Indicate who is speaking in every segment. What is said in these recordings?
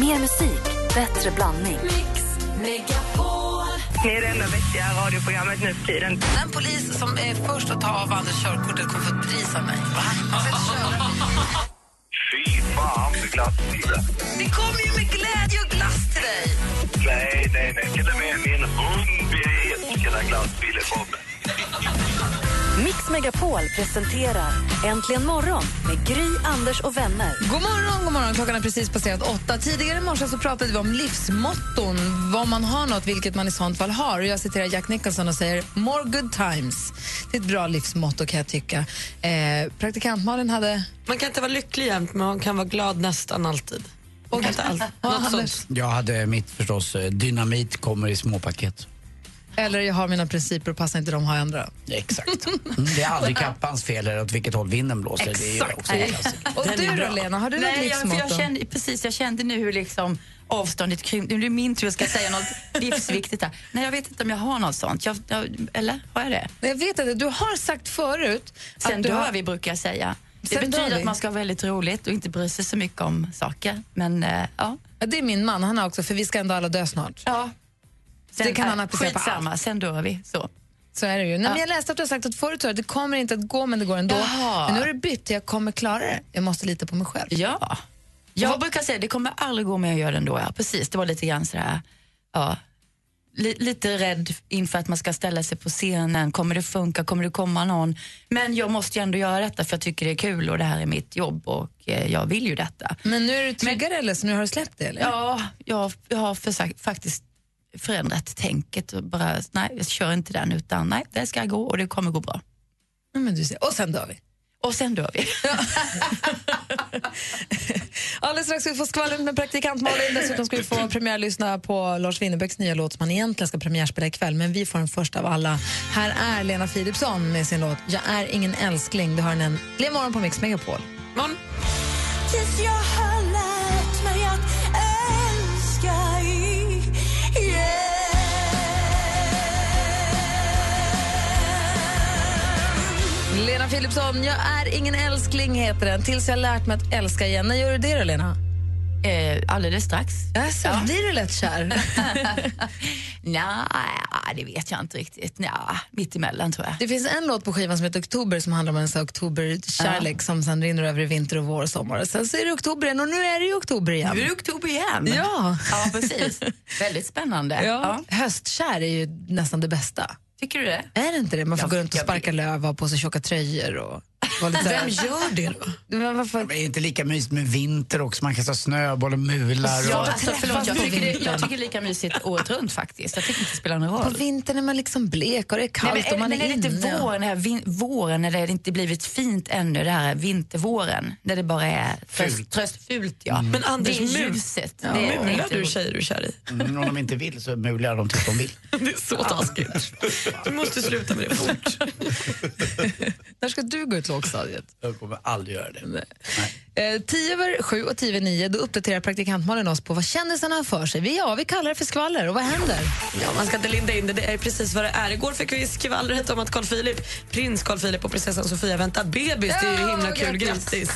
Speaker 1: Mer musik, bättre blandning.
Speaker 2: Ni är det enda vettiga radioprogrammet nu för tiden.
Speaker 3: Den polis som är först att ta av Anders körkortet kommer få ett pris av mig. Han får inte köra.
Speaker 4: Fy fan för glassbilen.
Speaker 3: Vi kommer ju med glädje och glass till dig.
Speaker 4: Nej, nej, nej. Till och med min hund blir ilsken när glassbilen kommer.
Speaker 1: Mix Megapol presenterar Äntligen morgon med Gry, Anders och vänner.
Speaker 5: God morgon, god morgon. Klockan är precis passerat åtta. Tidigare i morse så pratade vi om livsmotton, vad man har något, vilket man i sånt fall har. Och jag citerar Jack Nicholson och säger “more good times”. Det är ett bra livsmotto kan jag tycka. Eh, praktikant Malin hade...
Speaker 6: Man kan inte vara lycklig jämt, men man kan vara glad nästan alltid. Man kan inte alltid. Något sånt.
Speaker 7: Jag hade mitt förstås, eh, dynamit kommer i små paket.
Speaker 5: Eller jag har mina principer och passar inte de har jag andra.
Speaker 7: Exakt. Mm, det är aldrig kappans fel eller åt vilket håll vinden blåser. Det är ju också en klassiker.
Speaker 5: Och du då Lena, har du något
Speaker 8: Nej, jag, för
Speaker 5: livsmotto?
Speaker 8: jag, kände, precis, jag kände nu hur liksom avståndet krympte. Nu är det min tur jag ska säga något livsviktigt här. Nej, jag vet inte om jag har något sånt. Jag, jag, eller har jag det?
Speaker 5: Jag vet inte, du har sagt förut
Speaker 8: Sen
Speaker 5: att du
Speaker 8: dör
Speaker 5: har...
Speaker 8: vi brukar jag säga. Det
Speaker 5: Sen dör
Speaker 8: betyder
Speaker 5: vi.
Speaker 8: att man ska ha väldigt roligt och inte bry sig så mycket om saker. Men eh, ja.
Speaker 5: Ja, Det är min man, han har också “för vi ska ändå alla dö snart”.
Speaker 8: ja. Sen,
Speaker 5: Det kan han
Speaker 8: eh,
Speaker 5: applicera på
Speaker 8: Skitsamma, sen dör vi. Så.
Speaker 5: Så är det ju. Nej, men jag läste att du har sagt att förut så att det kommer inte att gå men det går ändå.
Speaker 8: Jaha.
Speaker 5: Men nu har du bytt, jag kommer klara det. Jag måste lita på mig själv.
Speaker 8: Ja. Jag brukar säga det kommer aldrig gå men jag gör det ändå. Ja, precis, det var lite grann sådär, ja. Li- lite rädd inför att man ska ställa sig på scenen. Kommer det funka? Kommer det komma någon? Men jag måste ju ändå göra detta för jag tycker det är kul och det här är mitt jobb och eh, jag vill ju detta.
Speaker 5: Men nu är du tryggare eller så nu har du släppt det eller?
Speaker 8: Ja, jag, jag har försökt, faktiskt förändrat tänket och bara, nej jag kör inte den utan nej det ska gå och det kommer gå bra.
Speaker 5: Ja, Men du ser. Och sen dör vi.
Speaker 8: Och sen dör vi.
Speaker 5: Alldeles strax ska vi få skvallret med praktikant Malin. Dessutom ska vi få premiärlyssna på Lars Winnerbäcks nya låt som han egentligen ska premiärspela ikväll. Men vi får den först av alla. Här är Lena Philipsson med sin låt Jag är ingen älskling. Du har den en Glenn morgon på Mix Megapol.
Speaker 6: Man,
Speaker 9: Tills jag har lärt mig att älska igen
Speaker 5: Lena Philipsson, Jag är ingen älskling heter den. Tills jag lärt mig att älska igen. När gör du det då Lena?
Speaker 8: Eh, alldeles strax.
Speaker 5: Alltså, Blir du lätt kär?
Speaker 8: Nja, det vet jag inte riktigt. Nja, mittemellan tror jag.
Speaker 5: Det finns en låt på skivan som heter Oktober som handlar om en sån här oktoberkärlek som sen rinner över i vinter och vår och sommar. Och Sen så är det oktober igen och nu är det ju oktober igen.
Speaker 8: Nu är det oktober igen.
Speaker 5: Ja.
Speaker 8: Ja, precis. Väldigt spännande. Ja.
Speaker 5: Höstkär är ju nästan det bästa.
Speaker 8: Tycker du det?
Speaker 5: Är det inte det? Man får
Speaker 8: Jag-
Speaker 5: gå runt och
Speaker 8: jag
Speaker 5: sparka löv och ha på sig tjocka tröjor. Och vara lite Vem gör det då? Men varför?
Speaker 7: Men är det inte lika mysigt med vinter också? Man kastar snöboll och mular. Och...
Speaker 8: Ja, alltså, förlåt, jag
Speaker 5: på
Speaker 8: tycker, det, jag
Speaker 5: vintern.
Speaker 8: tycker det är lika mysigt året runt faktiskt. Jag tycker inte det spelar någon
Speaker 5: På
Speaker 8: roll.
Speaker 5: vintern är man liksom blek och det är kallt
Speaker 8: Nej, men,
Speaker 5: och man
Speaker 8: men
Speaker 5: är,
Speaker 8: är det inte
Speaker 5: inne.
Speaker 8: våren, den här vin- våren när det inte blivit fint ännu, det här vintervåren, när det bara är tröst, fult. Tröst, fult ja.
Speaker 6: Men Anders,
Speaker 8: det är
Speaker 6: mul-
Speaker 8: ljuset.
Speaker 6: ja,
Speaker 8: det är
Speaker 6: mular
Speaker 8: inte-
Speaker 6: du tjejer du är kär i?
Speaker 7: Mm, om de inte vill så mular de tills de vill.
Speaker 6: Det är så taskigt. Du måste sluta med det fort.
Speaker 5: När ska du gå ut lågstadiet?
Speaker 7: Jag kommer aldrig göra det.
Speaker 5: Eh, tio över sju och tio över nio, då uppdaterar praktikantmannen oss på vad kändisarna har för sig. Vi, ja, vi kallar det för skvaller och vad händer?
Speaker 6: Ja, man ska inte linda in det. Det är precis vad det är. Igår fick vi skvallret om att Carl Philip, prins Carl Philip och prinsessan Sofia väntar bebis. Det är ju himla kul. Grattis!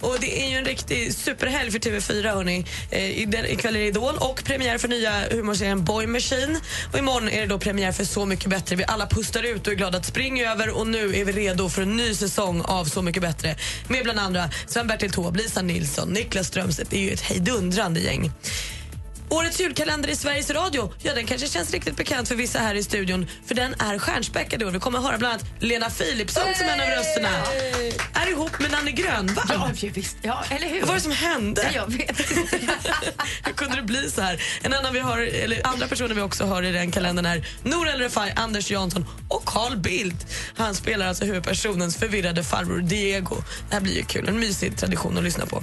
Speaker 6: Och det är ju en riktig superhelg för TV4 hörni. Eh, i den- ikväll är det Idol och premiär för nya humorserien Boy Machine. Och imorgon är det då premiär för Så mycket bättre. Vi alla pustar ut och är glada att springa över och nu är vi redo för en ny säsong av Så mycket bättre. Med bland andra Sven-Bertil Taube, Lisa Nilsson, Niklas Strömstedt. Det är ju ett hejdundrande gäng. Årets julkalender i Sveriges Radio, ja den kanske känns riktigt bekant för vissa här i studion för den är stjärnspäckad i år. Vi kommer höra bland annat Lena Philipsson som en av rösterna. Är ihop med Nanne Grönvall.
Speaker 8: Ja, ju visst. Ja, eller hur?
Speaker 6: Vad var det som hände?
Speaker 8: Jag vet inte.
Speaker 6: Hur kunde det bli så här? En annan vi har, eller andra personer vi också har i den kalendern är Nour El Refai, Anders Jansson och Carl Bildt. Han spelar alltså huvudpersonens förvirrade farbror Diego. Det här blir ju kul, en mysig tradition att lyssna på.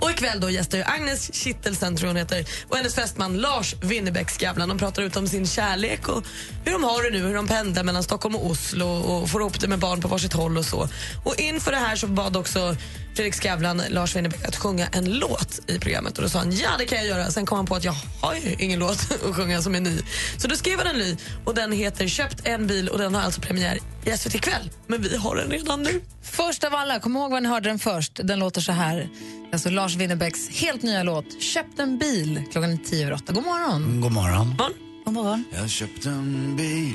Speaker 6: Och ikväll då gästar ju Agnes Kittelsen tror hon heter, och hennes fästman Lars Winnerbäck Skavlan. De pratar ut om sin kärlek och hur de har det nu, hur de pendlar mellan Stockholm och Oslo och får ihop det med barn på varsitt håll och så. Och inför det här så bad också Fredrik Skavlan Lars Winnerbäck att sjunga en låt i programmet. Och Då sa han ja, det kan jag göra. Sen kom han på att jag har ju ingen låt att sjunga som är ny. Så då skrev han en ny och den heter Köpt en bil och den har alltså premiär i SVT ikväll. Men vi har den redan nu.
Speaker 5: Först av alla, kom ihåg var ni hörde den först. Den låter så här. Alltså Lars Winnerbäcks helt nya låt Köpt en bil klockan är tio över åtta. God morgon.
Speaker 7: God morgon.
Speaker 8: God morgon.
Speaker 10: Jag köpte en bil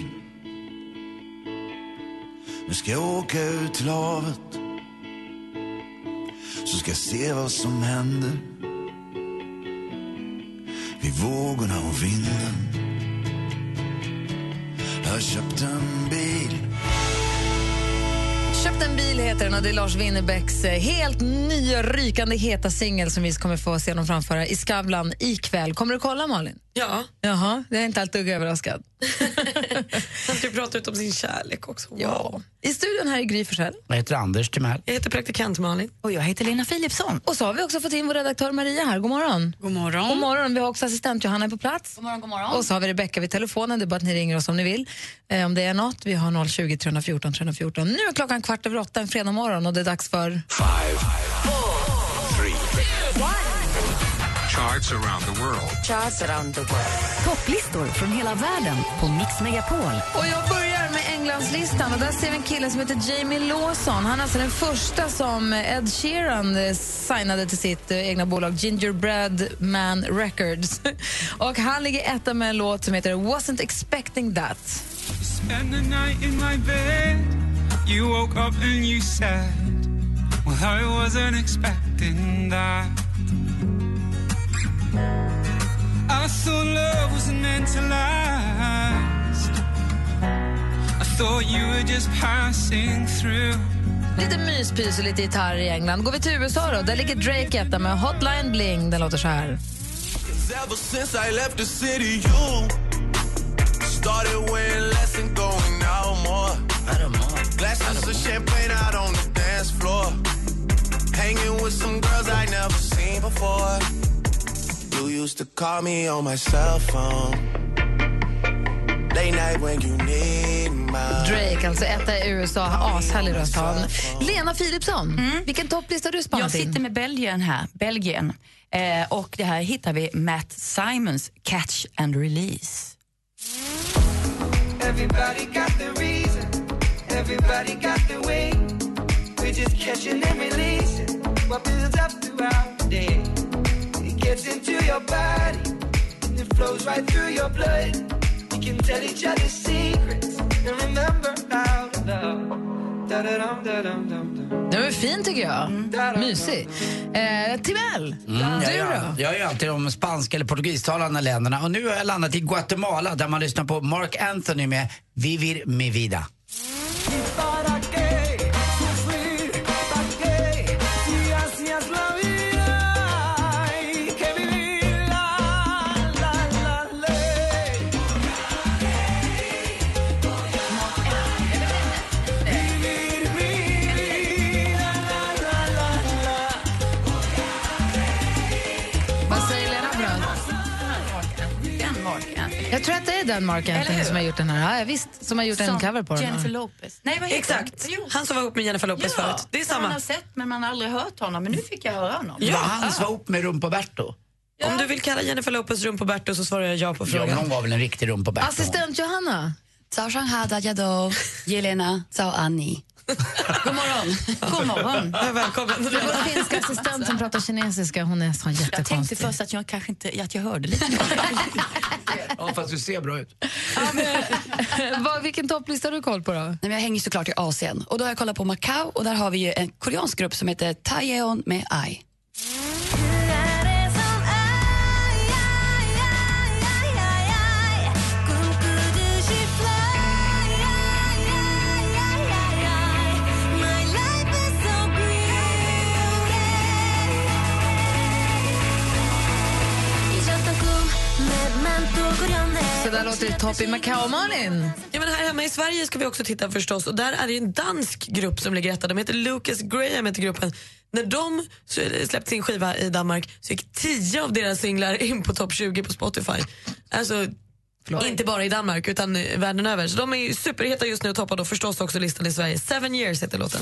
Speaker 10: Nu ska jag åka ut till havet Så ska jag se vad som händer Vid vågorna och vinden Jag köpte en bil
Speaker 5: Köpt en bil heter den och det är Lars Winnerbäcks eh, helt nya rykande heta singel som vi kommer få se honom framföra i Skavlan ikväll. Kommer du kolla Malin?
Speaker 6: Ja,
Speaker 5: Jaha, jag är inte allt dugg överraskad.
Speaker 6: han ska ju prata ut om sin kärlek också. Wow.
Speaker 5: Ja. I studion här i Gry Forssell.
Speaker 7: Jag heter Anders Timell.
Speaker 6: Jag heter praktikant Malin.
Speaker 8: Och jag heter Lena Philipsson.
Speaker 5: Och så har vi också fått in vår redaktör Maria här. God morgon. God morgon. God morgon. Vi har också assistent Johanna på plats.
Speaker 8: morgon, god morgon.
Speaker 5: Och så har vi Rebecka vid telefonen. Det är bara att ni ringer oss om ni vill. Eh, om det är något. Vi har 020 314 314. Nu är klockan kvart över åtta en fredag morgon och det är dags för...
Speaker 4: Charts around the world.
Speaker 1: Topplistor från hela världen på Mix Megapol.
Speaker 5: Och jag börjar med Englandslistan och där ser vi en kille som heter Jamie Lawson. Han är alltså den första som Ed Sheeran eh, signade till sitt eh, egna bolag Gingerbread Man Records. Och han ligger etta med en låt som heter Wasn't expecting that.
Speaker 11: Spend the night in my bed. You woke up and you said, Well, I wasn't expecting that. I thought love wasn't meant to last. I thought you were just passing through.
Speaker 5: Lite myspys och lite gitarr i England. Går vi till USA då? Där ligger Drake etta med Hotline Bling. Den låter så här.
Speaker 10: Ever since I left the city you Started wearing less and going out more Glasses of champagne out on the dance floor. Hanging with some girls I never seen before. You used to call me on my cell phone. Late night when you need my.
Speaker 5: Drake, alltså etta i USA. Ashärlig röst har han. Lena Philipsson, vilken topplista har du
Speaker 8: Mm.
Speaker 5: spanat
Speaker 8: Jag sitter
Speaker 5: in?
Speaker 8: med Belgien här. Belgien. Eh, och det här hittar vi Matt Simons Catch and Release.
Speaker 11: Everybody got the reason. Everybody got the way. We're just catching and releasing what builds up throughout the day. It gets into your body and it flows right through your blood. We can tell each other secrets and remember how to love. Da da dum da dum dum dum.
Speaker 5: Den var fin tycker jag.
Speaker 8: Mm.
Speaker 5: Mysig. Eh, Timell,
Speaker 7: Mm,
Speaker 5: du
Speaker 7: jag, gör-
Speaker 5: då?
Speaker 7: jag gör alltid de spanska eller portugistalande länderna och nu har jag landat i Guatemala där man lyssnar på Mark Anthony med Vivir mi vida.
Speaker 11: ¿Para qué sufrir? ¿Para qué? Si así es la vida, hay que vivirla. La, la, ley. Vivir mi vida. La, la, la, la.
Speaker 5: Vad säger Lena för något?
Speaker 8: Den marken.
Speaker 5: Jag tror att det är den Mark Anthony
Speaker 8: hur?
Speaker 5: som har gjort den här. Ja, visst, som har gjort en cover på den.
Speaker 8: Jennifer Lopez. Nej, vad heter
Speaker 6: Exakt.
Speaker 8: den? Jo.
Speaker 6: Han som var ihop med Jennifer Lopez förut. Det är
Speaker 8: Man har
Speaker 6: samma.
Speaker 8: sett men alltså, man har aldrig hört honom. Men nu fick jag höra honom.
Speaker 7: Var han som var ihop med Rumpoberto?
Speaker 6: Om du vill kalla Jennifer Lopez Rumpoberto så svarar jag ja på
Speaker 7: Ja, men
Speaker 6: frågan.
Speaker 7: hon var väl en riktig Rumpoberto?
Speaker 5: Assistent Johanna,
Speaker 8: God morgon. God morgon.
Speaker 6: Ja, Välkommen.
Speaker 5: vår finska assistent som pratar kinesiska, hon är så
Speaker 8: Jag tänkte
Speaker 5: jättekonstig.
Speaker 8: först att jag kanske inte, att jag hörde lite.
Speaker 7: Ja, fast du ser bra ut.
Speaker 5: Eh, Vad- Vilken topplista har du koll på då?
Speaker 11: Nej, men jag hänger ju såklart i Asien. Och då har jag kollat på Macau och där har vi ju en koreansk grupp som heter Taeyeon med I.
Speaker 5: Så där låter det topp i Macau. Malin?
Speaker 6: Ja, men här hemma i Sverige ska vi också titta förstås och där är det en dansk grupp som ligger etta. De heter Lucas Graham heter gruppen. När de släppte sin skiva i Danmark så gick 10 av deras singlar in på topp 20 på Spotify. Alltså inte bara i Danmark utan eh, världen över. Så de är ju superheta just nu och toppar då förstås också listan i Sverige. Seven years heter låten.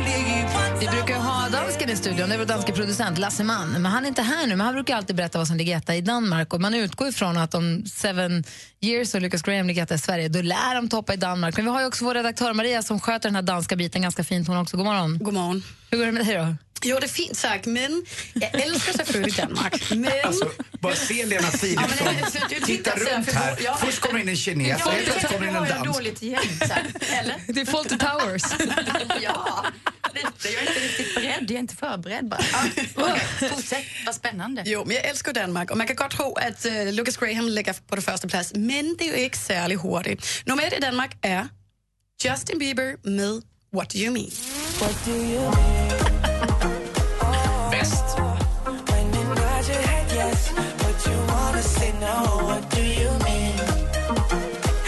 Speaker 5: Vi brukar ju ha dansken i studion, det är vår danske producent Lasse Mann. Men han är inte här nu, men han brukar alltid berätta vad som ligger etta i Danmark. Och man utgår ifrån att om Seven Years och Lucas Graham ligger etta i Sverige, då lär de toppa i Danmark. Men vi har ju också vår redaktör Maria som sköter den här danska biten ganska fint hon också. God morgon.
Speaker 12: God morgon.
Speaker 5: Hur går det med dig då?
Speaker 12: Jo, det är fint sagt, men jag älskar selvfølgelig Danmark. Men...
Speaker 7: Alltså, Bara se Lena
Speaker 12: Ja, men
Speaker 7: Philipsson
Speaker 12: det är så att du
Speaker 7: titta
Speaker 12: tittar sen,
Speaker 7: runt
Speaker 12: för
Speaker 7: här.
Speaker 12: då- ja.
Speaker 7: Först kommer in en kines,
Speaker 12: Ja,
Speaker 7: och helt
Speaker 12: det-
Speaker 7: plötsligt kommer in
Speaker 12: jag
Speaker 7: en
Speaker 12: har en
Speaker 7: dansk.
Speaker 12: dåligt jämt, så här, eller?
Speaker 5: Det är Fawlty Towers.
Speaker 12: ja,
Speaker 8: lite. Jag är inte riktigt beredd. Jag är inte förberedd bara. Fortsätt, vad spännande.
Speaker 12: Jo, men jag älskar Danmark, och man kan godt tro, att eh, Lucas Graham ligger på den första plats, men det är ju inte särskilt hurtigt. Nummer ett i Danmark är Justin Bieber med What Do You Mean. What do you mean?
Speaker 7: Bäst.
Speaker 9: When in nod your head yes, but you wanna say no. What do you mean?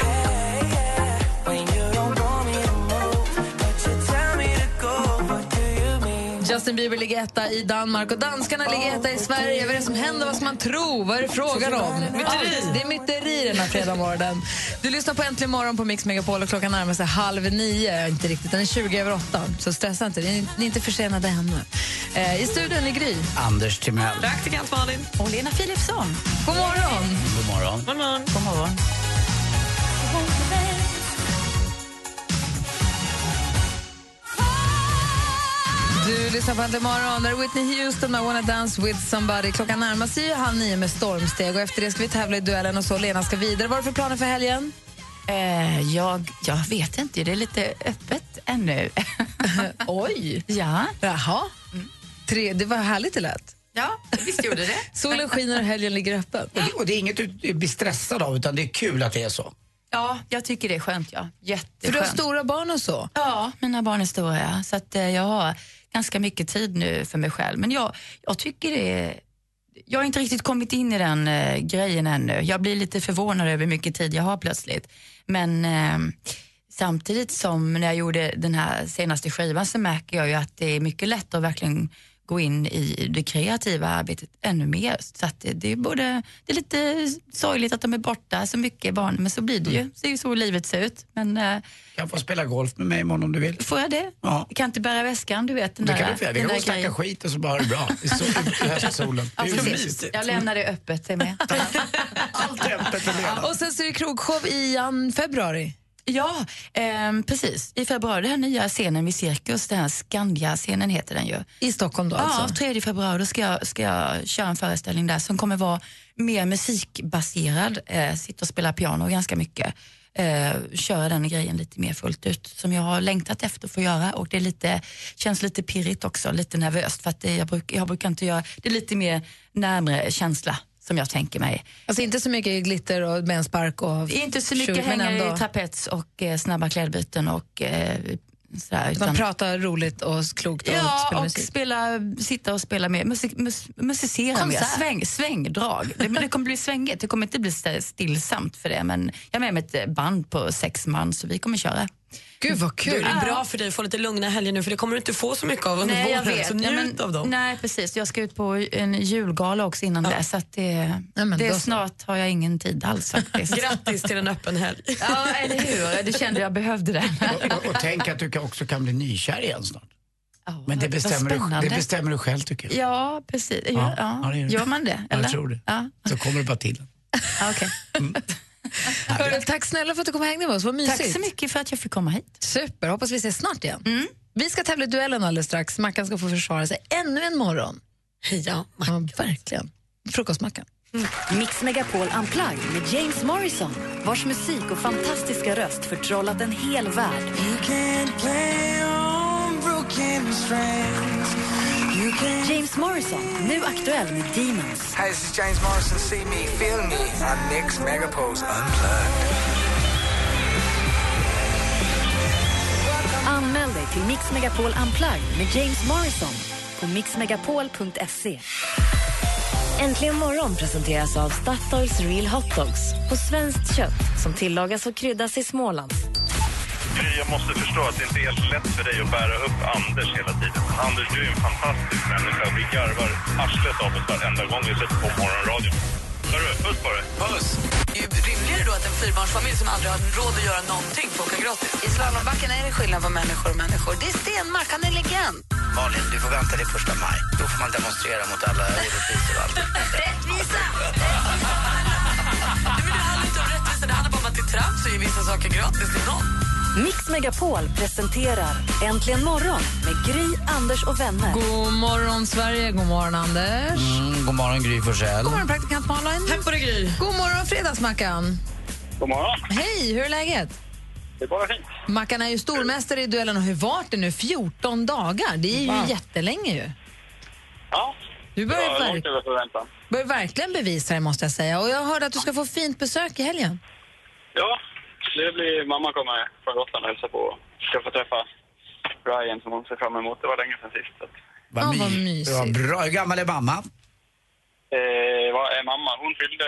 Speaker 9: Hey, yeah. When you don't want me to move, but you tell me to go. What do you mean?
Speaker 5: Justin Bieber ligger etta i Danmark och danskarna ligger etta i Sverige. Vad är det som händer? Vad ska man tro? Vad är det frågan om? Allt. Det är myteri den här fredagmorgonen. Du lyssnar på Äntligen morgon på Mix Megapol och klockan närmar sig halv nio. Inte riktigt, den är 20 över åtta. Så stressa inte, ni ni är inte försenade ännu. Eh, I studion är Gry.
Speaker 7: Anders Timell.
Speaker 6: Praktikant Malin.
Speaker 8: Och Lena Philipsson.
Speaker 5: God morgon!
Speaker 7: God morgon.
Speaker 6: God morgon.
Speaker 8: God morgon.
Speaker 5: Du lyssnar på Äntligen morgon. Där är Whitney Houston med I wanna dance with somebody. Klockan närmar sig ju halv nio med stormsteg och efter det ska vi tävla i duellen och så. Lena ska vidare. Vad är det för planer för helgen?
Speaker 8: Eh, jag, jag vet inte, det är lite öppet ännu.
Speaker 5: Oj!
Speaker 8: Ja.
Speaker 5: Jaha.
Speaker 8: Mm.
Speaker 5: Tre, det var härligt det lät.
Speaker 8: Ja, visst gjorde det.
Speaker 5: Solen skiner och helgen ligger öppen.
Speaker 7: Och det, och det är inget du blir stressad av, utan det är kul att det är så.
Speaker 8: Ja, jag tycker det är skönt. Ja. Jätteskönt.
Speaker 5: För du har stora barn och så?
Speaker 8: Ja, mina barn är stora. Ja. Så att, eh, jag har ganska mycket tid nu för mig själv. Men jag, jag tycker det är... Jag har inte riktigt kommit in i den eh, grejen ännu. Jag blir lite förvånad över hur mycket tid jag har plötsligt. Men eh, samtidigt som när jag gjorde den här senaste skivan så märker jag ju att det är mycket lättare att verkligen gå in i det kreativa arbetet ännu mer. Så att det, det, är både, det är lite sorgligt att de är borta så mycket barn, men så blir det ju. Det är ju så livet ser ut. Men eh,
Speaker 7: kan få spela golf med mig imorgon om du vill.
Speaker 8: Får jag det?
Speaker 7: Ja.
Speaker 8: Jag kan inte bära väskan, du vet. Den
Speaker 7: Det
Speaker 8: där,
Speaker 7: kan du få göra. Vi
Speaker 8: den
Speaker 7: kan gå
Speaker 8: där
Speaker 7: och snacka
Speaker 8: grejen.
Speaker 7: skit och så bara ha det bra. I sol- i höstsolen. Det
Speaker 8: Ja,
Speaker 7: är ju så
Speaker 8: precis.
Speaker 7: mysigt.
Speaker 8: jag lämnar det öppet, det är med.
Speaker 5: Och sen så är det krogshow i um, februari.
Speaker 8: Ja, ehm, precis. I februari, den här nya scenen vid Cirkus, den här Skandia-scenen heter den ju.
Speaker 5: I Stockholm då
Speaker 8: ja,
Speaker 5: alltså?
Speaker 8: 3 februari då ska jag, ska jag köra en föreställning där som kommer vara mer musikbaserad. Eh, sitta och spela piano ganska mycket. Eh, köra den grejen lite mer fullt ut som jag har längtat efter att få göra och det är lite, känns lite pirrigt också, lite nervöst för att det, jag, bruk, jag brukar inte göra, det är lite mer närmre känsla som jag tänker mig.
Speaker 5: Alltså inte så mycket glitter och benspark och
Speaker 8: Inte så
Speaker 5: tjur,
Speaker 8: mycket
Speaker 5: men
Speaker 8: hänga
Speaker 5: ändå.
Speaker 8: i trapets och eh, snabba klädbyten och eh, sådär.
Speaker 5: Man
Speaker 8: utan-
Speaker 5: pratar roligt och klokt och
Speaker 8: Ja,
Speaker 5: spelar
Speaker 8: och
Speaker 5: musik.
Speaker 8: spela, sitta och spela mer, musik, mus, musicera mer,
Speaker 5: Konsert.
Speaker 8: sväng, svängdrag. Det, men det kommer bli svängigt, det kommer inte bli st- stillsamt för det. Men jag är med mig ett band på sex man så vi kommer köra.
Speaker 5: Gud vad
Speaker 8: kul.
Speaker 6: Då är det bra för dig att få lite lugna helger nu för det kommer du inte få så mycket av under
Speaker 8: jag
Speaker 6: våren. Så njut
Speaker 8: Nej, men-
Speaker 6: av dem.
Speaker 8: Nej, precis. Jag ska ut på en julgala också innan det. Så att det,
Speaker 6: men
Speaker 8: det
Speaker 6: då
Speaker 8: är
Speaker 6: så.
Speaker 8: snart har jag ingen tid alls faktiskt.
Speaker 6: Grattis till en öppen helg.
Speaker 8: ja, eller hur? Det kände jag behövde det.
Speaker 7: Och, och, och tänk att du kan- också kan bli nykär igen snart. Men det
Speaker 8: vad
Speaker 7: bestämmer, du,
Speaker 8: spännande.
Speaker 7: det bestämmer du själv tycker jag.
Speaker 8: Ja, precis.
Speaker 7: Ja,
Speaker 8: Ja, ja.
Speaker 7: ja, det gör
Speaker 8: gör,
Speaker 7: det.
Speaker 8: man det?
Speaker 7: Ja,
Speaker 8: Eller?
Speaker 7: jag tror det.
Speaker 8: Ja.
Speaker 7: Så kommer det bara till.
Speaker 5: Hörru, tack snälla för att du kom och hängde med oss, vad mysigt.
Speaker 8: Tack så mycket Mm. för att jag fick komma hit.
Speaker 5: Super, hoppas vi ses snart igen. Vi ska tävla i duellen alldeles strax. Mackan ska få försvara sig ännu en morgon.
Speaker 6: Ja,
Speaker 5: Mackan. verkligen. Frukostmackan.
Speaker 1: Mix Megapol Unplugged med James Morrison vars musik och fantastiska röst förtrollat en hel värld. James Morrison, nu aktuell med Demons.
Speaker 13: Hey, this is James Morrison. See me, feel me on Mix Megapoles Unplugged.
Speaker 1: Anmäl dig till Mix Megapol Unplugged med James Morrison på mixmegapol.se.
Speaker 14: Äntligen morgon presenteras av Statoils Real Hot Dogs på svenskt kött som tillagas och kryddas i Småland.
Speaker 15: Gry, jag måste förstå att det inte är helt lätt för dig att bära upp Anders hela tiden. Anders, du är en fantastisk människa. Vi garvar arslet av oss varenda gång vi sätter på morgonradion. Hörru, puss på dig. Puss.
Speaker 16: Det är ju rimligare då att en fyrbarnsfamilj som aldrig har råd att göra någonting får åka gratis. I slalombacken är det skillnad på människor och människor. Det är Stenmark, han är legend.
Speaker 17: Malin, du får vänta till första maj. Då får man demonstrera mot alla orättvisor och allt.
Speaker 16: Rättvisa! Nej, men det handlar inte om rättvisa, det handlar bara om att det är trams att ge vissa saker gratis till någon.
Speaker 14: Mix Megapol presenterar Äntligen morgon med Gry, Anders och vänner.
Speaker 5: God morgon, Sverige. God morgon, Anders.
Speaker 7: Mm, god morgon Gry Forssell.
Speaker 5: God morgon, praktikant Malin. Hej på dig, Gry. God morgon, Fredagsmackan.
Speaker 15: God morgon.
Speaker 5: Hej, hur är läget?
Speaker 15: Det är bara fint.
Speaker 5: Mackan är ju stormästare i duellen och hur vart det nu? 14 dagar. Det är ju jättelänge ju.
Speaker 15: Ja.
Speaker 5: Du börjar
Speaker 15: det var
Speaker 5: verk-
Speaker 15: långt över förväntan.
Speaker 5: Börjar verkligen bevisa det måste jag säga. Och jag hörde att du ska få fint besök i helgen.
Speaker 15: Ja, det blir mamma kommer från Gotland och hälsar på. Ska få träffa Ryan som hon ser fram emot. Det var länge sedan sist. Så. att-
Speaker 7: Vad, my- vad bra. Hur gammal är mamma?
Speaker 15: Eh, vad är mamma? Hon fyllde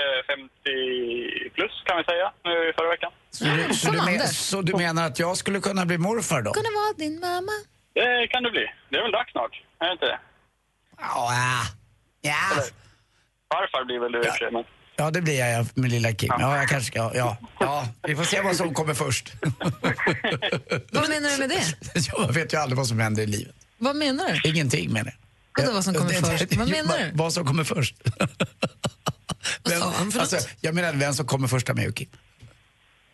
Speaker 15: 50 plus kan vi säga nu förra veckan.
Speaker 7: Så du, så, du men, så du menar att jag skulle kunna bli morfar då?
Speaker 5: Kunna vara din mamma.
Speaker 15: Det kan det bli. Det är väl dags snart? Är det inte det?
Speaker 7: Ja. Ja.
Speaker 15: Farfar blir väl du i och för sig, men...
Speaker 7: Ja, det blir jag ja, med lilla Kim. Ja, jag kanske ska. Ja, ja. ja, vi får se vad som kommer först.
Speaker 5: Vad menar du med det?
Speaker 7: Jag vet ju aldrig vad som händer i livet.
Speaker 5: Vad menar du?
Speaker 7: Ingenting menar jag.
Speaker 5: Vadå, vad som kommer
Speaker 7: Det- det-
Speaker 5: först? Vad menar du?
Speaker 7: Vad som kommer först. Vem, alltså, jag menar vem som kommer först av mig och Kim.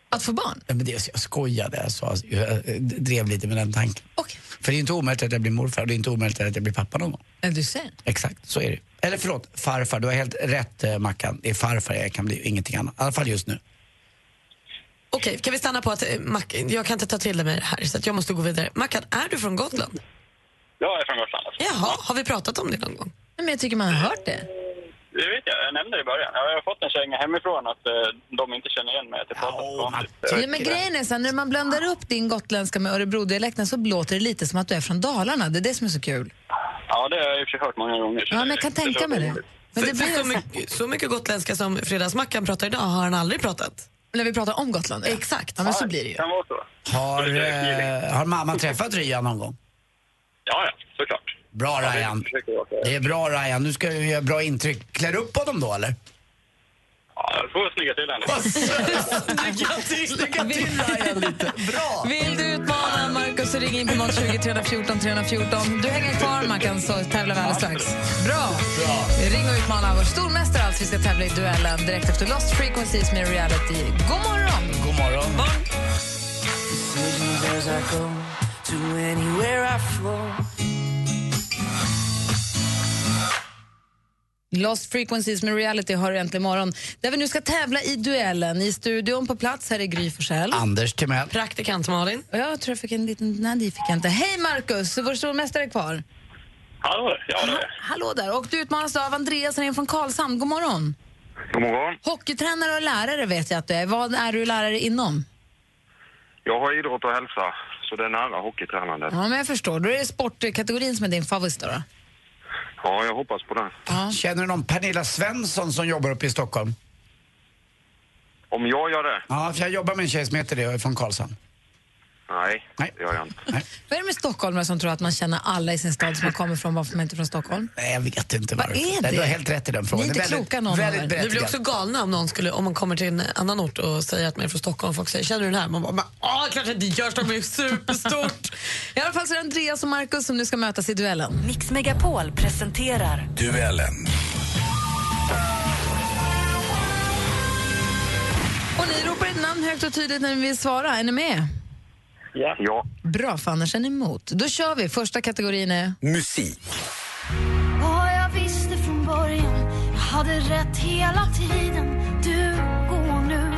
Speaker 5: Att få barn?
Speaker 7: Nej, men det, jag skojade. Jag, sa, jag eh, drev lite med den tanken. För det är inte omöjligt att jag blir morfar och det är inte omöjligt att jag blir pappa någon gång.
Speaker 5: Eller du ser.
Speaker 7: Exakt, så är det Eller förlåt, farfar. Du har helt rätt eh, Mackan. Det är farfar jag kan bli, ingenting annat. I alla fall just nu.
Speaker 6: Okej, kan vi stanna på att eh, Mac, jag kan inte ta till mig det här så att jag måste gå vidare. Mackan, är du från Gotland?
Speaker 15: Jag är från Gotland. alltså.
Speaker 6: Jaha, har vi pratat om det någon gång?
Speaker 5: Men jag tycker man har hört det.
Speaker 15: Det vet jag. Jag nämnde det i början. Jag har fått en känga hemifrån att eh, de inte känner igen mig. Att jag pratar ja, vanligt.
Speaker 5: Ja, men grejen är så här, när man blandar upp din gotländska med örebrodialekten så låter det lite som att du är från Dalarna. Det är det som är så kul.
Speaker 15: Ja, det har jag i och för sig hört många gånger. så
Speaker 5: Ja,
Speaker 15: det-
Speaker 5: men jag kan tänka
Speaker 15: låter
Speaker 5: mig det.
Speaker 15: roligt.
Speaker 5: Men det
Speaker 6: För-
Speaker 5: blir
Speaker 6: för så,
Speaker 5: så här-
Speaker 6: mycket, så mycket gotländska som Fredagsmackan pratar idag har han aldrig pratat.
Speaker 5: När vi pratar om Gotland?
Speaker 6: Exakt.
Speaker 5: Ja, men så blir det ju.
Speaker 15: kan vara så.
Speaker 7: Har, eh, har mamma träffat Ryan någon gång?
Speaker 15: Ja, ja, såklart.
Speaker 7: Bra
Speaker 15: Ja, det
Speaker 7: Ryan.
Speaker 15: försöker jag säga.
Speaker 7: Det är bra Ryan. Nu ska du göra bra intryck. Klär upp honom då eller?
Speaker 15: Ja, jag får snygga till henne.
Speaker 6: Lycka till, lycka
Speaker 5: till
Speaker 7: Ryan lite. Bra!
Speaker 5: Vill du utmana Markus så ring in på 020 314 314. Du hänger kvar Mackan så tävlar vi alldeles strax. Bra!
Speaker 18: Bra.
Speaker 5: Ring och utmana vår stormästare alltså. Vi ska tävla i duellen direkt efter Lost Frequencies med Reality. God morgon!
Speaker 7: God morgon.
Speaker 18: Decisions as I go to anywhere I flow.
Speaker 5: Lost Frequencies med Reality har du äntligen morgon. Där vi nu ska tävla i duellen. I studion på plats här är Gry Forssell.
Speaker 7: Anders Timell.
Speaker 6: Praktikant Malin.
Speaker 5: Och jag tror jag fick en liten... Nej, det fick jag inte. Hej Markus, vår stormästare är kvar.
Speaker 15: Hallå, ja det är jag.
Speaker 5: Hallå där. Och du utmanas då av Andreas han är från Karlshamn. God morgon.
Speaker 19: God morgon.
Speaker 5: Hockeytränare och lärare vet jag att du är. Vad är du lärare inom?
Speaker 19: Jag har idrott och hälsa, så det är nära hockeytränandet.
Speaker 5: Ja, men jag förstår. Då är det sportkategorin som är din favorit då. då.
Speaker 19: Ja, jag hoppas på det.
Speaker 7: Känner du någon Pernilla Svensson som jobbar uppe i Stockholm?
Speaker 19: Om jag gör det?
Speaker 7: Ja, för jag jobbar med en tjej som heter det och är från Karlshamn.
Speaker 19: Nej, det gör jag inte.
Speaker 5: Vad är det med stockholmare som tror att man känner alla i sin stad som man kommer från, varför man inte är från Stockholm?
Speaker 7: Nej, jag vet inte
Speaker 5: Vad
Speaker 7: varför.
Speaker 5: är
Speaker 7: Nej,
Speaker 5: det?
Speaker 7: Du har helt rätt i den
Speaker 5: Ni
Speaker 7: frågan.
Speaker 5: är
Speaker 7: Det
Speaker 5: inte
Speaker 7: är väldigt,
Speaker 5: kloka någon av er.
Speaker 7: väldigt
Speaker 6: Vi blir
Speaker 7: berättigad.
Speaker 6: också galna om någon skulle, om man kommer till en annan ort och säger att man är från Stockholm och folk säger känner du den här? Man bara, ja klart jag inte gör, Stockholm är ju superstort.
Speaker 5: I alla fall så är det Andreas och Markus som nu ska mötas i duellen.
Speaker 14: Mix Megapol presenterar
Speaker 20: Duellen.
Speaker 5: Och ni ropar ett namn högt och tydligt när ni vill svara. Är ni med?
Speaker 19: Ja. ja.
Speaker 5: Bra, för annars är ni emot. Då kör vi. Första kategorin är...
Speaker 20: Musik.
Speaker 9: Och jag visste från början Jag hade rätt hela tiden Du går nu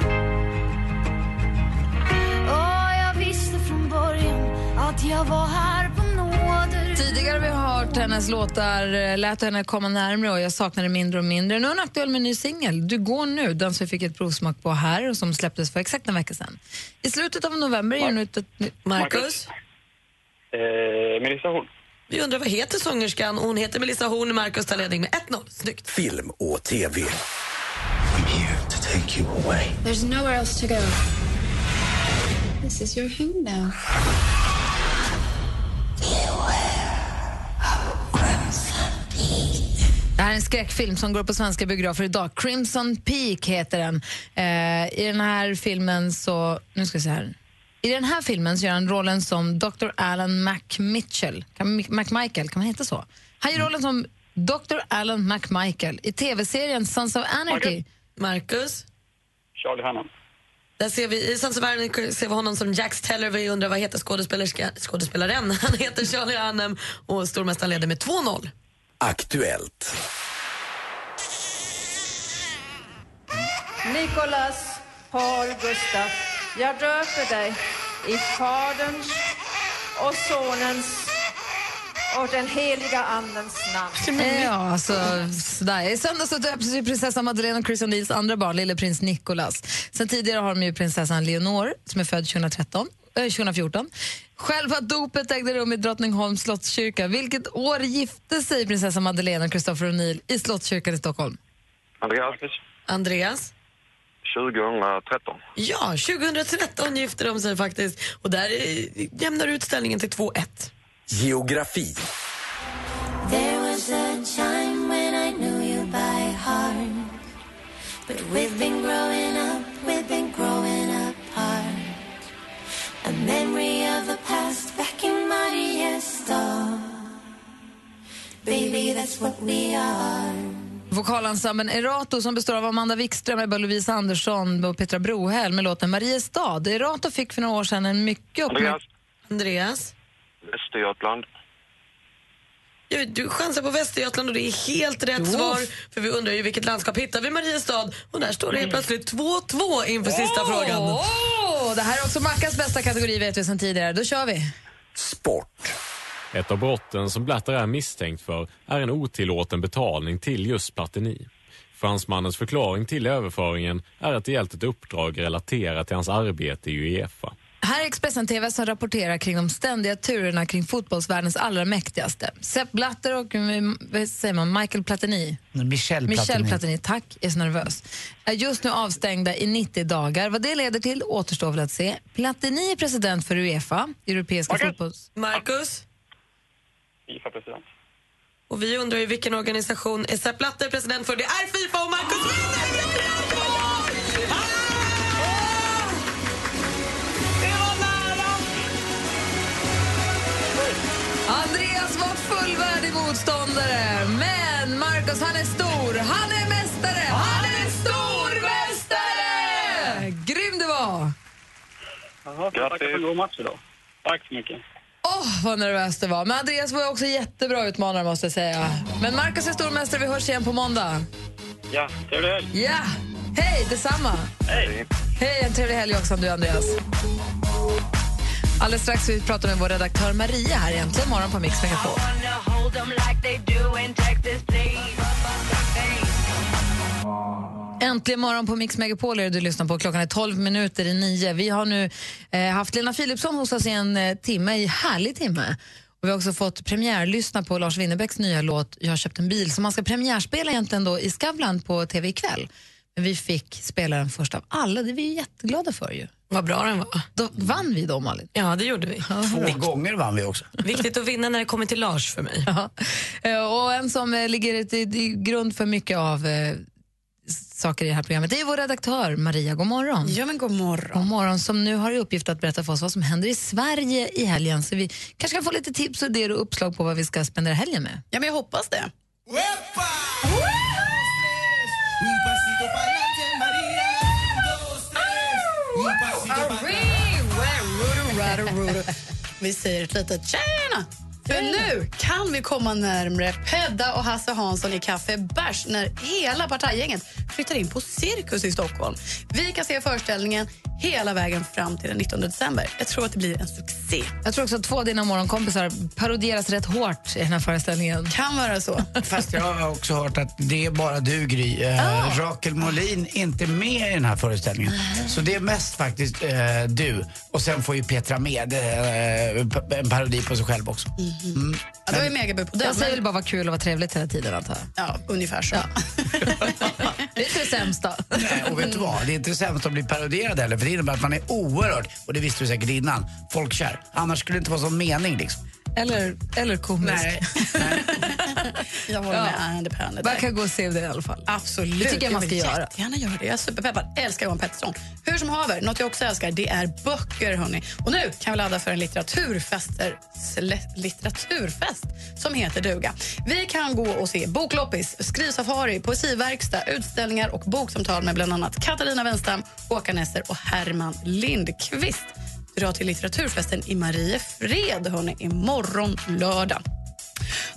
Speaker 9: Och jag visste från början Att jag var här på nåder
Speaker 5: Tidigare har vi hört hennes låtar, eh, lät henne komma närmre och jag saknade mindre och mindre. Nu är hon aktuell med en ny singel, Du går nu, den som vi fick ett provsmak på här och som släpptes för exakt en vecka sedan. I slutet av november ger hon ut ett nytt...
Speaker 15: Marcus? Eh, Melissa Horn.
Speaker 6: Vi undrar vad heter sångerskan? Och Hon heter Melissa Horn. Marcus tar ledning med 1-0. Snyggt.
Speaker 21: Film och TV.
Speaker 13: To take you away.
Speaker 22: There's nowhere else to go. This is your home now.
Speaker 5: Det här är en skräckfilm som går på svenska biografer idag. Crimson Peak heter den. Eh, I den här filmen så... Nu ska vi se här. I den här filmen så gör han rollen som Dr. Alan McMitchell. Kan, McMichael, kan man heta så? Han gör rollen som Dr. Alan McMichael i tv-serien Sons of Anarchy.
Speaker 6: Marcus?
Speaker 23: Charlie Hannan.
Speaker 6: Där ser vi, I Sons of Anarchy ser vi honom som Jax Teller. Vi undrar vad heter skådespelerska, skådespelaren? Han heter Charlie Hunnam och stormästaren leder med 2-0.
Speaker 21: Aktuellt.
Speaker 24: Nikolas Paul Gustaf, jag döper dig i Faderns och Sonens och den heliga Andens namn.
Speaker 5: Ja, alltså, sådär. I söndags så döptes ju prinsessan Madeleine och Chris O'Neills andra barn, lilleprins Nicholas. Sen tidigare har de ju prinsessan Leonor som är född 2013, eh, 2014. Själva dopet ägde rum i Drottningholms slottskyrka. Vilket år gifte sig prinsessan Madeleine och Christopher O'Neill i slottskyrkan i Stockholm?
Speaker 23: Andreas,
Speaker 6: Andreas?
Speaker 23: 2013.
Speaker 6: Ja, 2013 gifte de sig faktiskt. Och där eh, jämnar utställningen till 2-1.
Speaker 21: Geografi.
Speaker 9: There was a time when I knew you by heart. But we've been growing up, we've been growing apart. A memory of the past back in my store. Baby, that's what we are.
Speaker 5: Vokalensemblen Erato som består av Amanda Wikström, Ebba Lovisa Andersson och Petra Brohäll med låten Mariestad. Erato fick för några år sedan en mycket
Speaker 23: Andreas.
Speaker 5: uppmärksammad... Andreas?
Speaker 23: Västergötland.
Speaker 6: Ja, Du chansar på Västergötland och det är helt rätt svar. För vi undrar ju vilket landskap hittar vi Mariestad? Och där står det helt plötsligt 2-2 inför sista frågan.
Speaker 5: Åh, det här är också Mackas bästa kategori vet vi sedan tidigare. Då kör vi.
Speaker 25: Ett av brotten som Blatter är misstänkt för är en otillåten betalning till just Platini. Fransmannens förklaring till överföringen är att det gällt ett uppdrag relaterat till hans arbete i Uefa.
Speaker 5: Här är Expressen TV som rapporterar kring de ständiga turerna kring fotbollsvärldens allra mäktigaste. Sepp Blatter och mm, vad säger man, Michael Platini.
Speaker 7: Michel Platini.
Speaker 5: Michel Platini, tack, är så nervös. Är just nu avstängda i 90 dagar. Vad det leder till återstår väl att se. Platini är president för Uefa, Europeiska fotbolls...
Speaker 6: Marcus?
Speaker 23: Fifa-president.
Speaker 6: Och vi undrar ju vilken organisation är Sepp Blatter president för? Det är Fifa och Marcus vinner!
Speaker 5: Andreas var fullvärdig motståndare, men Marcus han är stor. Han är mästare! Han är stormästare! Grym du var!
Speaker 23: Grattis. för en god match idag. Tack så mycket.
Speaker 5: Åh, vad nervös det var. Men Andreas var ju också jättebra utmanare måste jag säga. Men Marcus är stormästare, vi hörs igen på måndag.
Speaker 23: Ja, trevlig helg.
Speaker 5: Ja! Hej, detsamma!
Speaker 23: Hej.
Speaker 5: Hej, en trevlig helg också om du Andreas. Alldeles strax vi pratar med vår redaktör Maria här egentligen morgon på Mix Megapol. Äntligen morgon på Mix Megapol är det du lyssnar på. Klockan är 12 minuter i nio. Vi har nu eh, haft Lena Philipsson hos oss i en eh, timme, i härlig timme. Och vi har också fått premiärlyssna på Lars Winnerbäcks nya låt Jag har köpt en bil som man ska premiärspela egentligen då i Skavlan på tv ikväll. Men vi fick spela den först av alla, det är vi ju jätteglada för ju.
Speaker 6: Vad bra den var.
Speaker 5: Då vann vi då Malin.
Speaker 6: Ja, det gjorde vi.
Speaker 7: Två gånger vann vi också.
Speaker 6: Viktigt att vinna när det kommer till Lars för mig.
Speaker 5: Eh, Och en som eh, ligger till till grund för mycket av eh, saker i det här programmet det är vår redaktör Maria. God morgon.
Speaker 12: Ja, men god morgon.
Speaker 5: God morgon, som nu har i uppgift att berätta för oss vad som händer i Sverige i helgen. Så vi kanske kan få lite tips och idéer och uppslag på vad vi ska spendera helgen med.
Speaker 12: Ja, men jag hoppas det. Vi säger ett litet tjena! För nu kan vi komma närmre Pedda och Hasse Hansson i Café Bärs när hela partajgänget flyttar in på Cirkus i Stockholm. Vi kan se föreställningen hela vägen fram till den 19 december. Jag tror att det blir en succé.
Speaker 5: Jag tror också att två av dina morgonkompisar parodieras rätt hårt i den här föreställningen.
Speaker 12: Kan vara så.
Speaker 7: Fast jag har också hört att det är bara du, Gry. Eh,
Speaker 5: Ah.
Speaker 7: Rakel Molin är inte med i den här föreställningen. Så det är mest faktiskt eh, du. Och sen får ju Petra med eh, pa- en parodi på sig själv också. Mm.
Speaker 12: Ja, då är Megaby på död.
Speaker 5: Jag säger väl bara vad kul och vad trevligt hela tiden antar jag.
Speaker 12: Ja, ungefär så.
Speaker 5: Det är inte det sämsta.
Speaker 7: Nej, Eh, och vet du vad? Det är inte sämst att bli parodierad heller, för det innebär att man är oerhört, och det visste du säkert innan, folkkär. Annars skulle det inte vara sån mening liksom.
Speaker 5: Eller, eller komisk.
Speaker 7: Nej.
Speaker 12: Jag håller med Andy Pärne.
Speaker 5: Man kan gå och se det i alla fall.
Speaker 12: Absolut.
Speaker 5: Det tycker jag man ska
Speaker 12: vill
Speaker 5: göra.
Speaker 12: Jättegärna göra det. Jag är superpeppad. Älskar Johan Pettersson. Hur som haver, något jag också älskar det är böcker. Hörrni. Och nu kan vi ladda för en litteraturfester, sle- litteraturfest som heter duga. Vi kan gå och se bokloppis, skrivsafari, poesiverkstad, utställningar och boksamtal med bland annat Katarina Wenstam, Håkan Nesser och Herman Lindqvist. Dra till litteraturfesten i Mariefred hörni, imorgon lördag.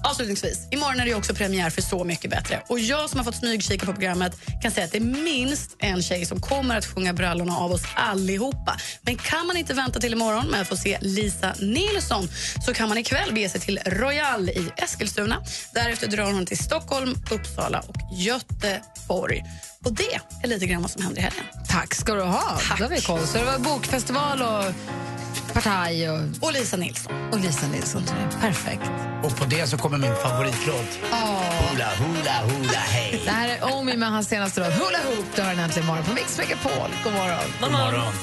Speaker 12: Avslutningsvis, imorgon är det ju också premiär för Så mycket bättre. Och Jag som har fått smygkika på programmet kan säga att det är minst en tjej som kommer att sjunga brallorna av oss allihopa. Men kan man inte vänta till imorgon med att få se Lisa Nilsson så kan man ikväll bege sig till Royal i Eskilstuna. Därefter drar hon till Stockholm, Uppsala och Göteborg. Och Det är lite grann vad som händer i helgen.
Speaker 5: Tack ska du ha. Då har vi koll. Så det var bokfestival och partaj och...
Speaker 12: Och Lisa Nilsson.
Speaker 5: Och Lisa Nilsson, tror jag. Perfekt.
Speaker 7: Och på det så kommer min favoritlåt. Hula, hula, hula, hej.
Speaker 5: Det här är Omi med hans senaste låt Hula Hoop. Du hör den äntligen imorgon på Mix Megapol. God morgon.
Speaker 7: God morgon.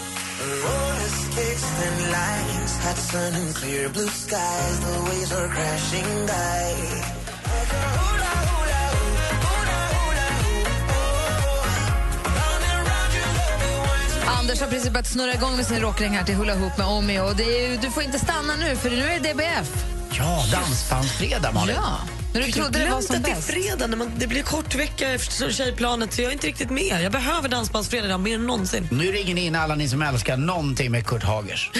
Speaker 9: Auroras kicks and lights, hot sun and clear blue skies. The waves are crashing by. Like a hula, hula, hoop, hula, hula, hoop, oh. Round and round you love me once
Speaker 5: Anders har precis börjat snurra igång med sin rockring här till Hula Hoop med Omi. Och det är, ju- du får inte stanna nu, för nu är det DBF.
Speaker 7: Ja, dansbandsfredag, Malin.
Speaker 5: Ja. När du trodde det var som
Speaker 6: att det är
Speaker 5: bäst.
Speaker 6: fredag, när man, det blir kort vecka efter tjejplanet så jag är inte riktigt med. Jag behöver dansbandsfredag idag mer än någonsin.
Speaker 7: Nu ringer ni in alla ni som älskar någonting med Kurt Hagers.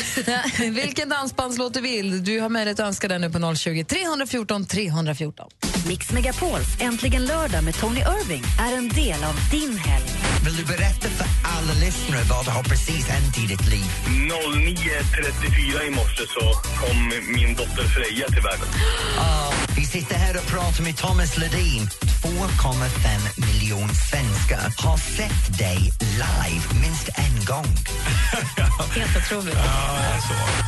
Speaker 5: Vilken dansbandslåt du vill. Du har möjlighet att önska den nu på 020 314 314.
Speaker 1: Mix Megapols Äntligen lördag med Tony Irving är en del av din helg.
Speaker 2: Vill du berätta för alla lyssnare vad det har precis hänt i ditt liv?
Speaker 23: 09.34 i morse så kom min dotter Freja till världen.
Speaker 2: Ah, Vi sitter här och pratar med Thomas Ledin. 2,5 miljoner svenskar har sett dig live minst en gång.
Speaker 12: Helt otroligt.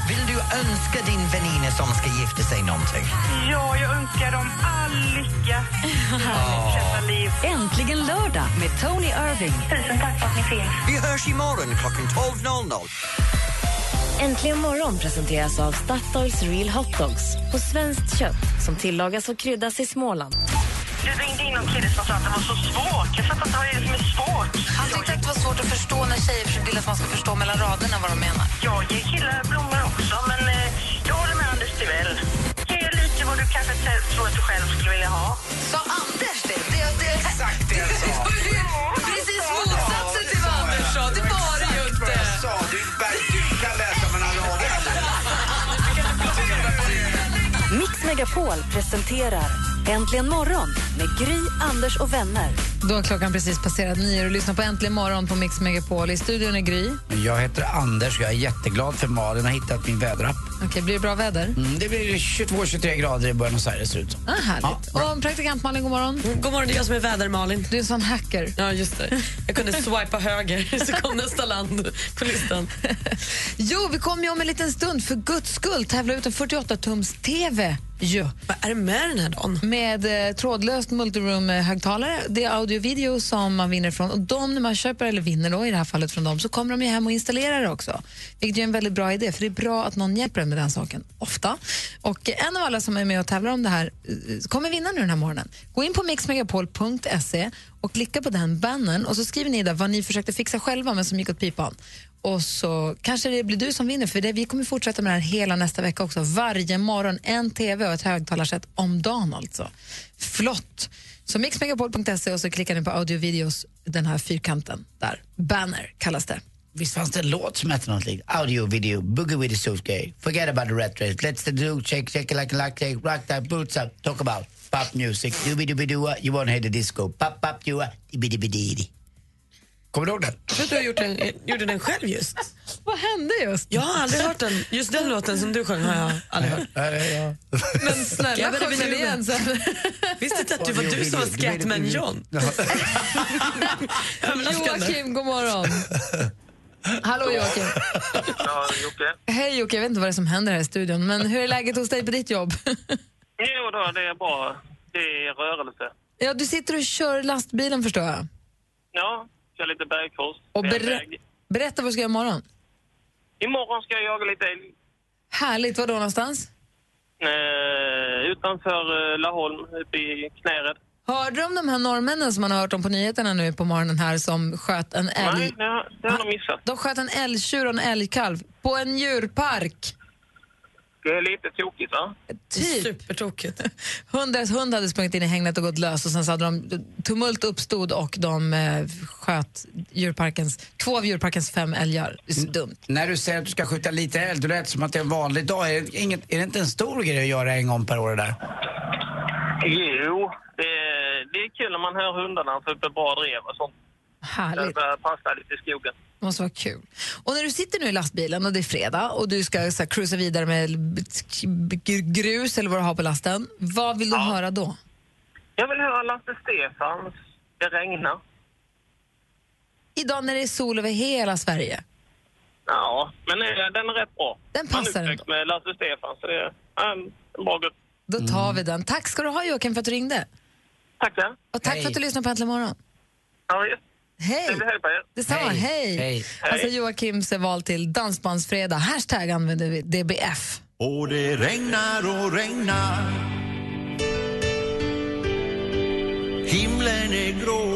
Speaker 2: Vill du önska din väninna som ska gifta sig någonting?
Speaker 14: Ja, jag önskar dem all lycka.
Speaker 1: Äntligen lördag med Tony Irving.
Speaker 14: Tusen tack för att ni finns.
Speaker 2: Vi hörs imorgon klockan 12.00.
Speaker 1: Äntligen morgon presenteras av Statoils Real Hot Dogs på svenskt kött som tillagas och kryddas i Småland.
Speaker 14: Du ringde in någon kille som sa att det var så svårt. Jag fattar inte vad det är som är svårt.
Speaker 3: Han tyckte att det var svårt att förstå när tjejer vill att man ska förstå mellan raderna vad de menar.
Speaker 14: Jag ger killar blommor också, men eh, jag håller med Anders Tivell. Ge lite vad du kanske t- tror att du själv skulle vilja ha.
Speaker 3: Sa Anders det? Det är det exakt
Speaker 2: det jag sa.
Speaker 3: Precis motsatsen till vad Anders sa. Det var det ju inte.
Speaker 7: Du, du kan läsa mellan
Speaker 1: Mix Megapol presenterar Äntligen morgon med Gry, Anders och vänner.
Speaker 5: Då har klockan precis passerat nio och du lyssnar på Äntligen morgon på Mix Megapol. I studion är Gry.
Speaker 7: Jag heter Anders och jag är jätteglad för Malin har hittat min väderapp.
Speaker 5: Okej, blir det bra väder?
Speaker 7: Mm, det blir 22-23 grader i Buenos Aires ser det ut som.
Speaker 5: Ah, härligt. och praktikant Malin, god morgon.
Speaker 6: God morgon, det är jag som är väder-Malin.
Speaker 5: Du är en sån hacker.
Speaker 6: Ja, just det. Jag kunde swipa höger så kom nästa land på listan.
Speaker 5: Jo, vi kommer ju om en liten stund för guds skull tävla ut en 48-tums-TV. Jo.
Speaker 6: Vad är det med den här dagen?
Speaker 5: Med eh, trådlöst multiroom-högtalare. Det är audio och video som man vinner från. Och de, när man köper eller vinner då, i det här fallet från dem, så kommer de ju hem och installerar det också. Vilket ju är en väldigt bra idé, för det är bra att någon hjälper en med den saken, ofta. Och eh, en av alla som är med och tävlar om det här eh, kommer vinna nu den här morgonen. Gå in på mixmegapol.se och klicka på den bannern och så skriver ni där vad ni försökte fixa själva men som gick åt pipan. Och så kanske det blir du som vinner, för det, vi kommer fortsätta med det här hela nästa vecka också. Varje morgon en TV och ett högtalarsätt om dagen alltså. Flott! Så mixmegapol.se och så klickar ni på audio videos, den här fyrkanten där. Banner kallas det.
Speaker 7: Visst fanns det en låt som hette något likt? Audio, video, boogie with the suit gay. Forget about the red race. Let's the do, shake, shake it like a lock, shake, rock that boots up. Talk about uh, pop music. Doobie doobie doo, you wanna hear the disco. Pop, pop, doo, dibby dibby dee Kommer du ihåg den?
Speaker 6: Jag tror att du har gjort den, eh, gjorde den själv just.
Speaker 5: Vad hände just?
Speaker 6: Jag har aldrig hört den. Just den låten som du sjöng har jag aldrig hört.
Speaker 5: Men snälla,
Speaker 6: Jag
Speaker 5: sjöng den
Speaker 6: började
Speaker 5: igen sen.
Speaker 6: Visste inte att du var du som var Scatman John. Överraskande.
Speaker 5: Joakim, god morgon. Hallå Joakim.
Speaker 23: Ja, Jocke.
Speaker 5: Hej Jocke, jag vet inte vad det är som händer här i studion, men hur är läget hos dig på ditt jobb?
Speaker 23: Jo då, det är bra. Det är rörelse.
Speaker 5: Ja, du sitter och kör lastbilen förstår jag.
Speaker 23: Ja, kör lite bergkors.
Speaker 5: Och
Speaker 23: Det är en
Speaker 5: berä-
Speaker 23: väg.
Speaker 5: berätta vad du ska göra imorgon.
Speaker 23: Imorgon ska jag jaga lite älg
Speaker 5: Härligt, var då någonstans?
Speaker 23: eh, utanför eh, Laholm, uppe i Knäred.
Speaker 5: Hörde du om de här norrmännen som man har hört om på nyheterna nu på morgonen här som sköt en älg?
Speaker 23: Nej, det har, det har de missat.
Speaker 5: De sköt en älgtjur och en älgkalv på en djurpark.
Speaker 23: Det är lite tokigt, va?
Speaker 5: Typ. Supertokigt. Hundens hund hade sprungit in i hängnet och gått lös och sen så hade de tumult uppstod och de eh, sköt djurparkens, två av djurparkens fem älgar. Det är så dumt.
Speaker 7: När du säger att du ska skjuta lite älg, då lät det som att det är en vanlig dag. Är det, inget, är det inte en stor grej att göra en gång per år det där?
Speaker 23: Jo, det är, det är kul när man hör hundarna för uppe bra drev och sånt.
Speaker 5: Härligt.
Speaker 23: Det börjar passa lite i skogen.
Speaker 5: Det måste vara kul. Och när du sitter nu i lastbilen och det är fredag och du ska så här, cruisa vidare med b- b- grus eller vad du har på lasten, vad vill du höra då?
Speaker 23: Jag vill höra Lasse Stefans Det regnar.
Speaker 5: Idag när det är sol över hela Sverige.
Speaker 23: Ja, men eh, den är rätt bra.
Speaker 5: Den passar
Speaker 23: Han uppväxt med Lasse Stefans, så det är ja, en bra gubbe.
Speaker 5: Då tar vi den. Tack ska du ha Joakim för att du ringde.
Speaker 23: Tackar.
Speaker 5: Och tack för att du lyssnade på Äntligen morgon.
Speaker 23: Ja, visst.
Speaker 5: Hej!
Speaker 23: Trevlig helg på er.
Speaker 5: Detsamma, hej! Alltså Joakims val till Dansbandsfredag. Hashtag använder vi DBF.
Speaker 10: Och det regnar och regnar Himlen är grå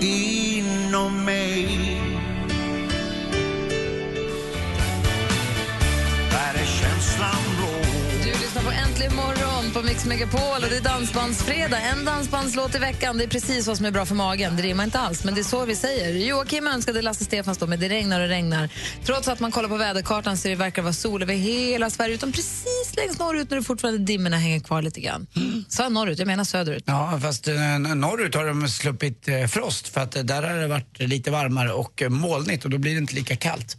Speaker 10: Inom mig Där är känslan blå
Speaker 5: Du lyssnar på Äntligen morgon på Mix Megapol och det är Dansbandsfredag. En dansbandslåt i veckan, det är precis vad som är bra för magen. Det rimmar inte alls, men det är så vi säger. Joakim önskade Lasse Stefans då, men det regnar och regnar. Trots att man kollar på väderkartan så det verkar vara sol över hela Sverige utom precis längst norrut när det fortfarande dimmorna hänger kvar lite grann. Sa jag norrut? Jag menar söderut.
Speaker 7: Ja, fast eh, norrut har de sluppit eh, frost för att eh, där har det varit lite varmare och eh, molnigt och då blir det inte lika kallt.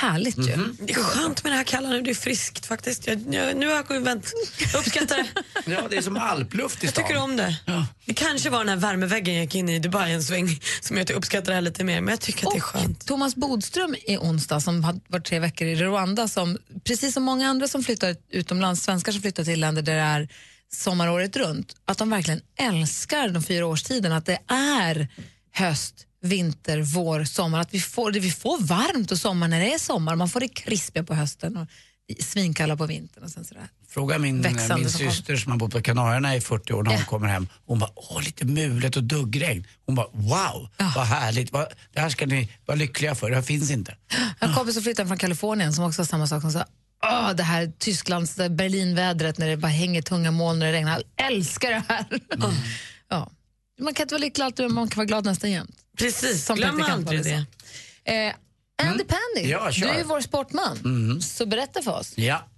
Speaker 5: Härligt ju.
Speaker 6: Det är skönt med det här kalla nu, det är friskt faktiskt. Jag, jag, nu har jag kommit vänt. Jag uppskattar det.
Speaker 7: Ja, det är som alpluft i
Speaker 6: Jag
Speaker 7: stan.
Speaker 6: tycker om det. Det kanske var den här värmeväggen jag gick in i i Dubai en sväng som gör att jag uppskattar det här lite mer. Men jag tycker att det är skönt.
Speaker 5: Thomas Bodström i onsdag som har varit tre veckor i Rwanda som precis som många andra som flyttar utomlands, svenskar som flyttar till länder där det är sommaråret runt, att de verkligen älskar de fyra årstiderna, att det är höst, vinter, vår, sommar, att vi får, det vi får varmt och sommar när det är sommar, man får det krispiga på hösten och svinkalla på vintern och sen sådär.
Speaker 7: Fråga min, eh,
Speaker 5: Växande
Speaker 7: min
Speaker 5: som kom.
Speaker 7: syster som har bott på Kanarierna i 40 år när hon kommer hem. Hon bara, åh lite mulet och duggregn. Hon bara, wow, vad härligt. Vad, det här ska ni vara lyckliga för, det här finns inte.
Speaker 5: Jag har en kompis som flyttade från Kalifornien som också har samma sak som sa Åh, det här Tysklands, det här Berlinvädret när det bara hänger tunga moln när det regnar. Jag älskar det här! ja. Man kan inte vara lycklig alltid, men man kan vara glad nästan jämt.
Speaker 6: Precis, glöm
Speaker 5: praktikant
Speaker 6: aldrig
Speaker 5: Alice sa. Eh, Andy Pandy,
Speaker 7: Ja,
Speaker 5: du
Speaker 7: kör.
Speaker 5: är ju vår sportman, så berätta för oss.
Speaker 7: Ja.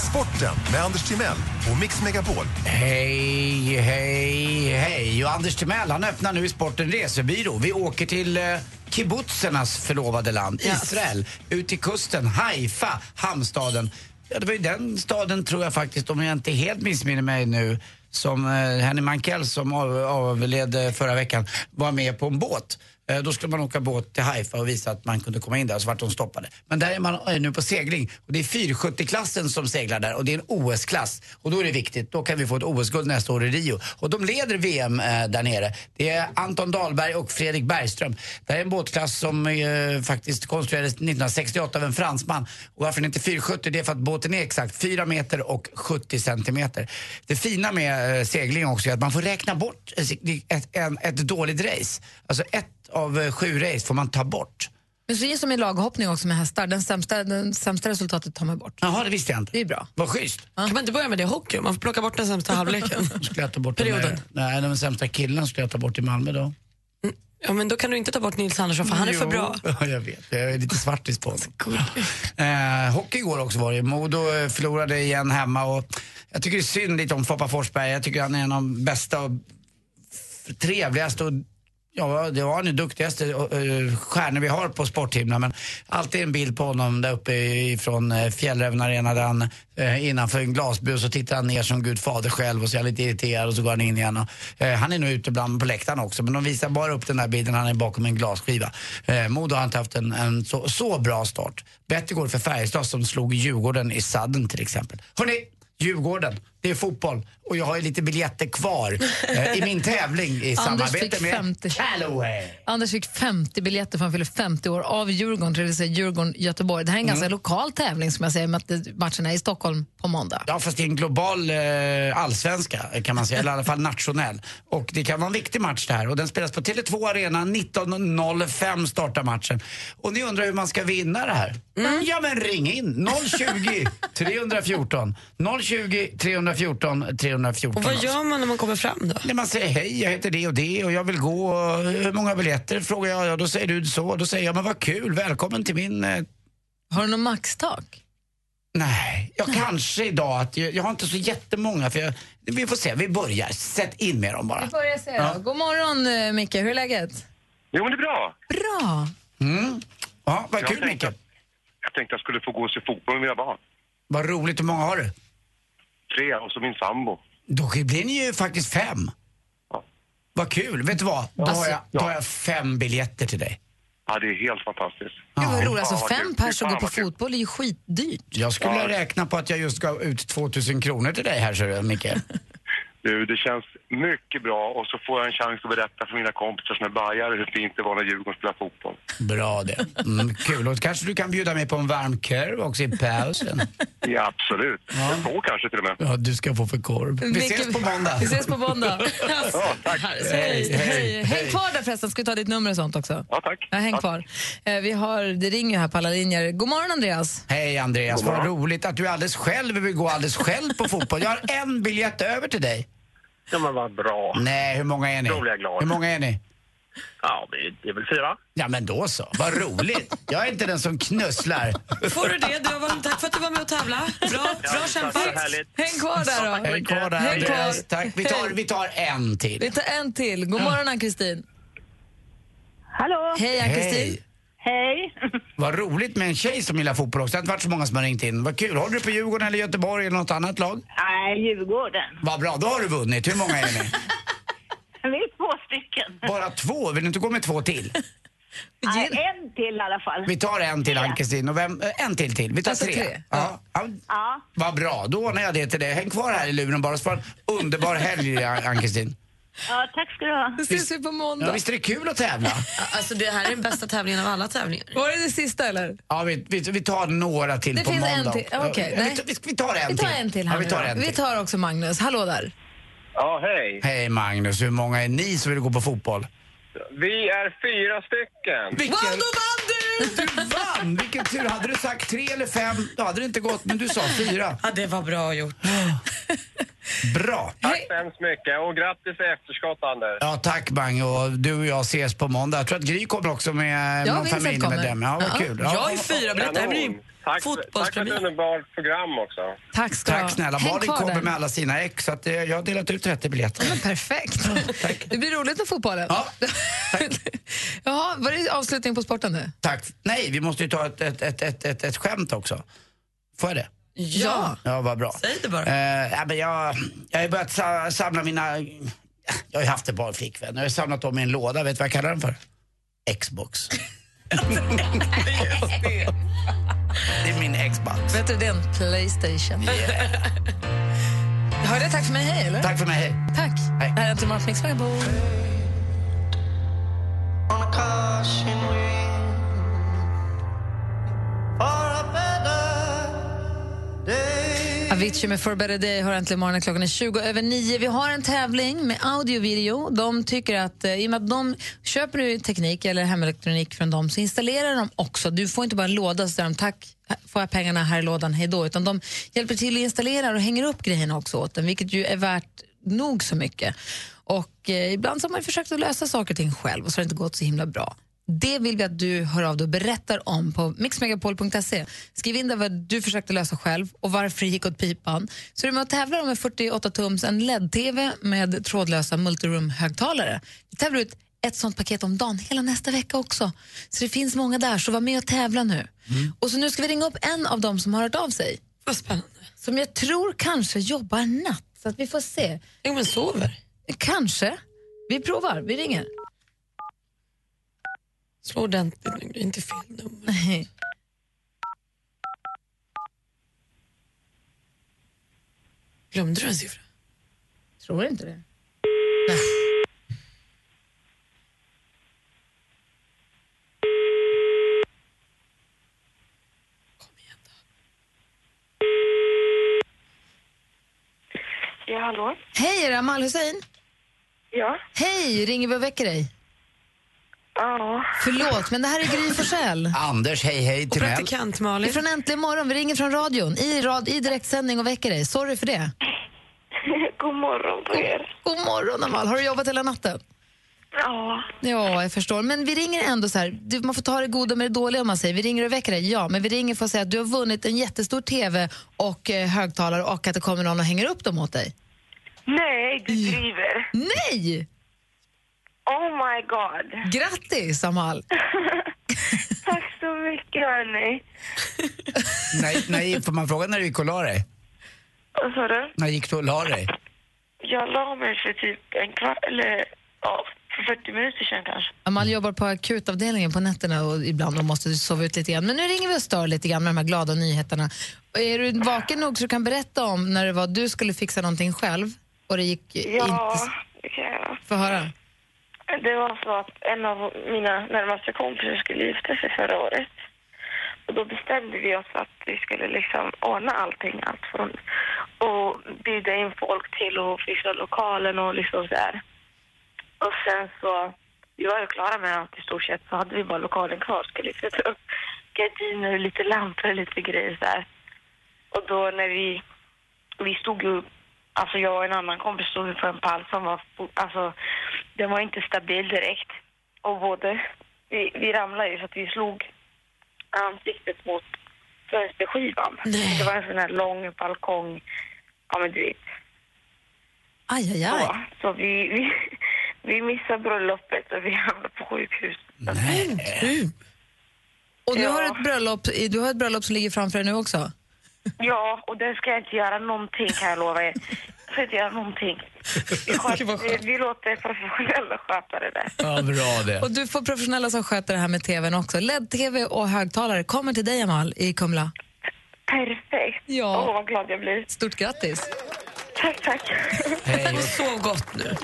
Speaker 11: Sporten med Anders Timell och Mix Megapol.
Speaker 7: Hej, hej, hej. Och Anders Timell, han öppnar nu i Sporten resebyrå. Vi åker till eh, kibbutzernas förlovade land, Israel. Ut till kusten, Haifa, hamnstaden. Ja, det var ju den staden, tror jag faktiskt, om jag inte helt missminner mig nu, som eh, Henny Mankell, som av, avled eh, förra veckan, var med på en båt. Eh, Då skulle man åka båt till Haifa och visa att man kunde komma in där, så vart de stoppade. Men där är man eh, nu på segling och det är 470-klassen som seglar där och det är en OS-klass. Och då är det viktigt, då kan vi få ett OS-guld nästa år i Rio. Och de leder VM eh, där nere. Det är Anton Dahlberg och Fredrik Bergström. Det här är en båtklass som eh, faktiskt konstruerades 1968 av en fransman. Och varför den inte 470? Det är för att båten är exakt 4 meter och 70 centimeter. Det fina med eh, segling också är att man får räkna bort eh, ett, en, ett dåligt race. Alltså ett av eh, sju race får man ta bort.
Speaker 5: Men så är det som i laghoppning också med hästar, den sämsta, den sämsta resultatet tar man bort.
Speaker 7: Jaha, det visste jag inte.
Speaker 5: Det är bra.
Speaker 7: Vad schysst.
Speaker 6: Kan man inte börja med det i hockey? Man får plocka bort den sämsta halvleken.
Speaker 7: Skulle jag ta bort
Speaker 6: Perioden.
Speaker 7: De, där- nej, de sämsta killarna skulle jag ta bort i Malmö då.
Speaker 6: Ja, men då kan du inte ta bort Nils Andersson för han är för
Speaker 7: Jo.
Speaker 6: bra.
Speaker 7: Ja, jag vet. Jag är lite svartis på honom. Eh, hockey igår också var det. Modo eh, förlorade igen hemma och jag tycker det är synd lite om Foppa Forsberg. Jag tycker han är en av de bästa och f- trevligaste och Ja, det var han ju duktigaste eh, stjärnor vi har på sporthimlen. Men alltid en bild på honom där uppe ifrån eh, Fjällräven Arena där han eh, innanför en glasbur så tittar han ner som Gud fader själv och så är han lite irriterad och så går han in igen. Och, eh, han är nog ute bland på läktaren också men de visar bara upp den där bilden han är bakom en glasskiva. Eh, Modo har inte haft en, en så, så bra start. Bättre går det för Färjestad som slog Djurgården i sadden till exempel. Hörrni, Djurgården, det är fotboll och jag har ju lite biljetter kvar eh, i min tävling i
Speaker 5: Anders
Speaker 7: samarbete
Speaker 5: fick
Speaker 7: med
Speaker 5: 50.
Speaker 7: Calloway.
Speaker 5: Anders fick 50 biljetter för han fyller 50 år av Djurgården, till det vill säga Djurgården-Göteborg. Det här är en ganska lokal tävling som jag säger, med att det- matchen är i Stockholm på måndag.
Speaker 7: Ja, fast det är en global eh, allsvenska kan man säga, eller i alla fall nationell. Och det kan vara en viktig match det här och den spelas på Tele2 Arena 19.05 startar matchen. Och ni undrar hur man ska vinna det här? Ja men ring in! 020 314 020 314 314.
Speaker 6: Och vad gör man när man kommer fram då?
Speaker 7: När man säger hej, jag heter det och det och jag vill gå. Och hur många biljetter? Frågar jag. Ja, då säger du så. Då säger jag, men vad kul, välkommen till min... Eh...
Speaker 5: Har du något maxtak?
Speaker 7: Nej, jag kanske idag. Att jag, jag har inte så jättemånga. För jag, vi får se, vi börjar. Sätt in med dem bara.
Speaker 5: Vi börjar se
Speaker 7: Ja.
Speaker 5: då. God morgon eh, Micke, hur är läget?
Speaker 8: Jo, men det är bra.
Speaker 5: Bra.
Speaker 7: Mm. Ja, vad
Speaker 8: Jag
Speaker 7: kul Micke.
Speaker 8: Jag tänkte jag skulle få gå och se fotboll med mina barn.
Speaker 7: Vad roligt. Hur många har du?
Speaker 8: Tre och så min sambo.
Speaker 7: Då blir ni ju faktiskt fem. Vad kul. Vet du vad? Då har jag, då har jag fem biljetter till dig.
Speaker 8: Ja, det är helt fantastiskt.
Speaker 5: Gud vad roligt, alltså
Speaker 7: Fan, vad
Speaker 5: fem
Speaker 7: kul.
Speaker 5: pers som
Speaker 7: Fan,
Speaker 5: går på
Speaker 7: vad kul.
Speaker 5: fotboll är ju skitdyrt.
Speaker 7: Jag skulle räkna på att jag just gav ut 2000 kronor till dig här, ser du, Micke.
Speaker 8: Du, det känns mycket bra och så får jag en chans att berätta för mina kompisar som är bajare hur fint det var när Djurgården spelade fotboll.
Speaker 7: Bra det. Mm, kul. Och kanske du kan bjuda mig på en varm korv också i pausen.
Speaker 8: Ja, absolut. Två kanske till och med.
Speaker 7: Ja, du ska få för korv. Vi ses på måndag.
Speaker 5: Vi ses på måndag.
Speaker 8: Ja, tack.
Speaker 5: Alltså, Hej, hej. Häng
Speaker 8: Hej.
Speaker 5: kvar där förresten, ska vi ta ditt nummer och sånt också?
Speaker 8: Ja, tack.
Speaker 5: Ja, häng
Speaker 8: Tack.
Speaker 5: kvar. Eh, Vi har, det ringer här på alla linjer. God morgon Andreas.
Speaker 7: Hej Andreas,
Speaker 8: God
Speaker 7: vad
Speaker 8: morgon.
Speaker 7: roligt att du är alldeles själv och vill gå alldeles själv på fotboll. Jag har en biljett över till dig.
Speaker 8: Ja, men vad bra.
Speaker 7: Nej, hur många är ni?
Speaker 8: Då blir jag glad.
Speaker 7: Hur många är ni?
Speaker 8: Ja, det är väl fyra.
Speaker 7: Ja, men då så. Vad roligt. Jag är inte den som knusslar.
Speaker 6: Får du det? Du har varit, tack för att du var med och tävlade. Bra, bra kämpat.
Speaker 5: Häng kvar där då.
Speaker 7: Häng kvar där
Speaker 5: Häng kvar.
Speaker 7: Andreas. Tack. Vi tar, vi tar en till.
Speaker 5: Vi tar en till. God morgon Ann-Kristin.
Speaker 26: Hallå!
Speaker 5: Hej Ann-Kristin.
Speaker 7: Hej.
Speaker 26: Hej!
Speaker 7: Vad roligt med en tjej som gillar fotboll också. Det har inte varit så många som har ringt in. Vad kul. Håller du på Djurgården eller Göteborg eller något annat lag?
Speaker 26: Nej, Djurgården.
Speaker 7: Vad bra, då har du vunnit. Hur många är ni?
Speaker 26: Vi är två stycken.
Speaker 7: Bara två? Vill du inte gå med två till?
Speaker 26: Nej, en till i alla fall.
Speaker 7: Vi tar en till, Ann-Kristin. och vem- eh, En till till. Vi tar
Speaker 26: Alltså
Speaker 7: tre.
Speaker 26: tre,
Speaker 7: Ja. Ja. Vad bra, då ordnar jag det till dig. Häng kvar här i luren bara så får du en underbar helg, An- Ann-Kristin.
Speaker 26: Ja, tack ska du ha.
Speaker 5: ses vi på
Speaker 7: Ja,
Speaker 5: måndag.
Speaker 7: visst är det kul att tävla?
Speaker 6: Alltså det här är den bästa tävlingen av alla tävlingar.
Speaker 5: Var det det sista eller?
Speaker 7: Ja, vi, vi, vi tar några till
Speaker 5: Det
Speaker 7: på
Speaker 5: finns
Speaker 7: måndag.
Speaker 5: en till.
Speaker 7: Ja,
Speaker 5: Okej,
Speaker 7: vi-
Speaker 5: nej.
Speaker 7: vi, tar- vi, vi tar en
Speaker 5: Vi
Speaker 7: till.
Speaker 5: tar en till här
Speaker 7: ja, vi
Speaker 5: nu
Speaker 7: tar
Speaker 5: då.
Speaker 7: en
Speaker 5: Vi
Speaker 7: till.
Speaker 5: tar också Magnus. Hallå där.
Speaker 19: Ja, hej.
Speaker 7: Hej Magnus, hur många är ni som vill gå på fotboll?
Speaker 19: Vi är fyra stycken.
Speaker 7: Vilken... Du vann! Vilken tur. Hade du sagt tre eller fem, då hade det inte gått. Men du sa fyra.
Speaker 6: Ja, det var bra gjort.
Speaker 7: Bra.
Speaker 19: Tack så hemskt mycket och grattis i efterskott, Anders.
Speaker 7: Ja, tack Bang. Och du och jag ses på måndag. Jag tror att Gry kommer också med
Speaker 19: Ja,
Speaker 7: någon
Speaker 19: Vincent
Speaker 7: familjemedlem.
Speaker 19: kommer.
Speaker 7: Ja, vad
Speaker 19: Ja.
Speaker 7: kul.
Speaker 19: Jag är fyra biljetter. Det här blir ju
Speaker 7: Kanon.
Speaker 19: Tack för ett underbart program också.
Speaker 5: Tack ska du ha.
Speaker 7: Tack snälla.
Speaker 5: Häng
Speaker 7: Malin
Speaker 5: kvar
Speaker 7: kommer
Speaker 5: där.
Speaker 7: med alla sina ex, så att, eh, jag har delat ut 30 biljetter.
Speaker 5: Men perfekt. Det blir roligt med fotbollen. Ja, Jaha, var det avslutning på sporten nu?
Speaker 7: Tack. Nej, vi måste ju ta ett, ett, ett, ett, ett, ett skämt också. Får jag det?
Speaker 6: Ja.
Speaker 7: Ja, vad bra.
Speaker 6: Säg det bara.
Speaker 7: Eh, ja, men jag, jag har ju börjat sa- samla mina... Jag har ju haft ett par flickvänner. Jag har samlat dem i en låda. Vet du vad jag kallar den för? Xbox. det är min Xbox.
Speaker 5: Vet du, det är en Playstation. Hörde jag tack för mig, hej? Eller?
Speaker 7: Tack för mig, hej.
Speaker 5: Tack. Det här är Äntligen morgon på Mix Megapol. Avicii med For a Better Day har äntligen morgonen klockan är 20 över 9. Vi har en tävling med audio och video. De tycker att, eh, i och med att de köper du teknik eller hemelektronik från dem så installerar de också. Du får inte bara en låda så där, de, tack, här får jag pengarna här i lådan, hej då. Utan de hjälper till att installera och hänger upp grejerna också åt den, vilket ju är värt nog så mycket. Och eh, ibland så har man ju försökt att lösa saker och ting själv och så har det inte gått så himla bra. Det vill vi att du hör av dig och berättar om på mixmegapol.se. Skriv in där vad du försökte lösa själv och varför det gick åt pipan. Så är du med och tävlar om en 48-tums en LED-TV med trådlösa multiroom-högtalare. Vi tävlar ut ett sånt paket om dagen hela nästa vecka också. Så det finns många där, så var med och tävla nu. Och så nu ska vi ringa upp en av dem som har hört av sig. Vad spännande. Som jag tror kanske jobbar natt, så att vi får se. Jo, men sover. Kanske. Vi provar, vi ringer.
Speaker 6: Slå ordentligt nu, det är inte fel nummer.
Speaker 5: Nej.
Speaker 6: Glömde du en siffra?
Speaker 5: Tror inte det.
Speaker 4: Ja, hallå?
Speaker 5: Hej, är det Amal Hussein?
Speaker 4: Ja.
Speaker 5: Hej, ringer vi och väcker dig?
Speaker 4: Ja.
Speaker 5: Förlåt, men det här är Gry Forssell.
Speaker 7: Anders, hej hej till mig.
Speaker 5: Malin. Från Äntligen morgon. Vi ringer från radion i, rad, i direktsändning och väcker dig. Sorry för det.
Speaker 4: God morgon på er.
Speaker 5: God morgon, Amal. Har du jobbat hela natten?
Speaker 4: Ja.
Speaker 5: Ja, jag förstår. Men vi ringer ändå så här. Du, man får ta det goda med det dåliga om man säger. Vi ringer och väcker dig, ja. Men vi ringer för att säga att du har vunnit en jättestor TV och eh, högtalare och att det kommer någon och hänger upp dem åt dig.
Speaker 4: Nej, du driver.
Speaker 5: Nej!
Speaker 4: Oh my god.
Speaker 5: Grattis, Amal!
Speaker 4: Tack så mycket, hörni.
Speaker 7: Nej, nej, får man fråga när du gick och la dig?
Speaker 4: Vad sa du?
Speaker 7: När gick du och la dig?
Speaker 4: Jag la mig för typ en kvart, eller ja, för 40 minuter sedan kanske.
Speaker 5: Amal jobbar på akutavdelningen på nätterna och ibland och måste sova ut lite grann. Men nu ringer vi och stör lite grann med de här glada nyheterna. Och Är du vaken nog så du kan berätta om när det var du skulle fixa någonting själv och det gick
Speaker 4: Ja,
Speaker 5: inte...
Speaker 4: det kan jag göra.
Speaker 5: Få höra.
Speaker 4: Det var så att en av mina närmaste kompisar skulle gifta sig förra året. Och då bestämde vi oss att vi skulle liksom ordna allting. Allt från och bjuda in folk till och fixa lokalen och liksom så här. Och sen så, vi var ju klara med allt i stort sett, så hade vi bara lokalen kvar. Skulle sätta upp gardiner och lite lampor och lite grejer så här. Och då när vi, vi stod ju, alltså jag och en annan kompis stod ju på en pall som var, alltså den var inte stabil direkt. Och både, vi, vi ramlade ju så att vi slog ansiktet mot fönsterskivan. Det var en sån här lång balkong, ja men du vet.
Speaker 5: Aj, aj, aj.
Speaker 4: Så, så vi, vi, vi missade bröllopet och vi hamnade på sjukhus.
Speaker 5: Nej. Och du, har ett bröllop, du har ett bröllop som ligger framför dig nu också?
Speaker 4: Ja, och det ska jag inte göra någonting kan jag lova er. Jag ska inte göra någonting. Vi, sköter, vi, vi låter professionella sköta det där.
Speaker 7: Ja, bra det.
Speaker 5: Och du får professionella som sköter det här med tvn också. LED-tv och högtalare kommer till dig, Amal, i Kumla.
Speaker 4: Perfekt.
Speaker 5: Ja.
Speaker 4: Åh, vad glad jag blir.
Speaker 5: Stort grattis.
Speaker 4: Tack, tack.
Speaker 7: Hej.
Speaker 6: Sov gott nu.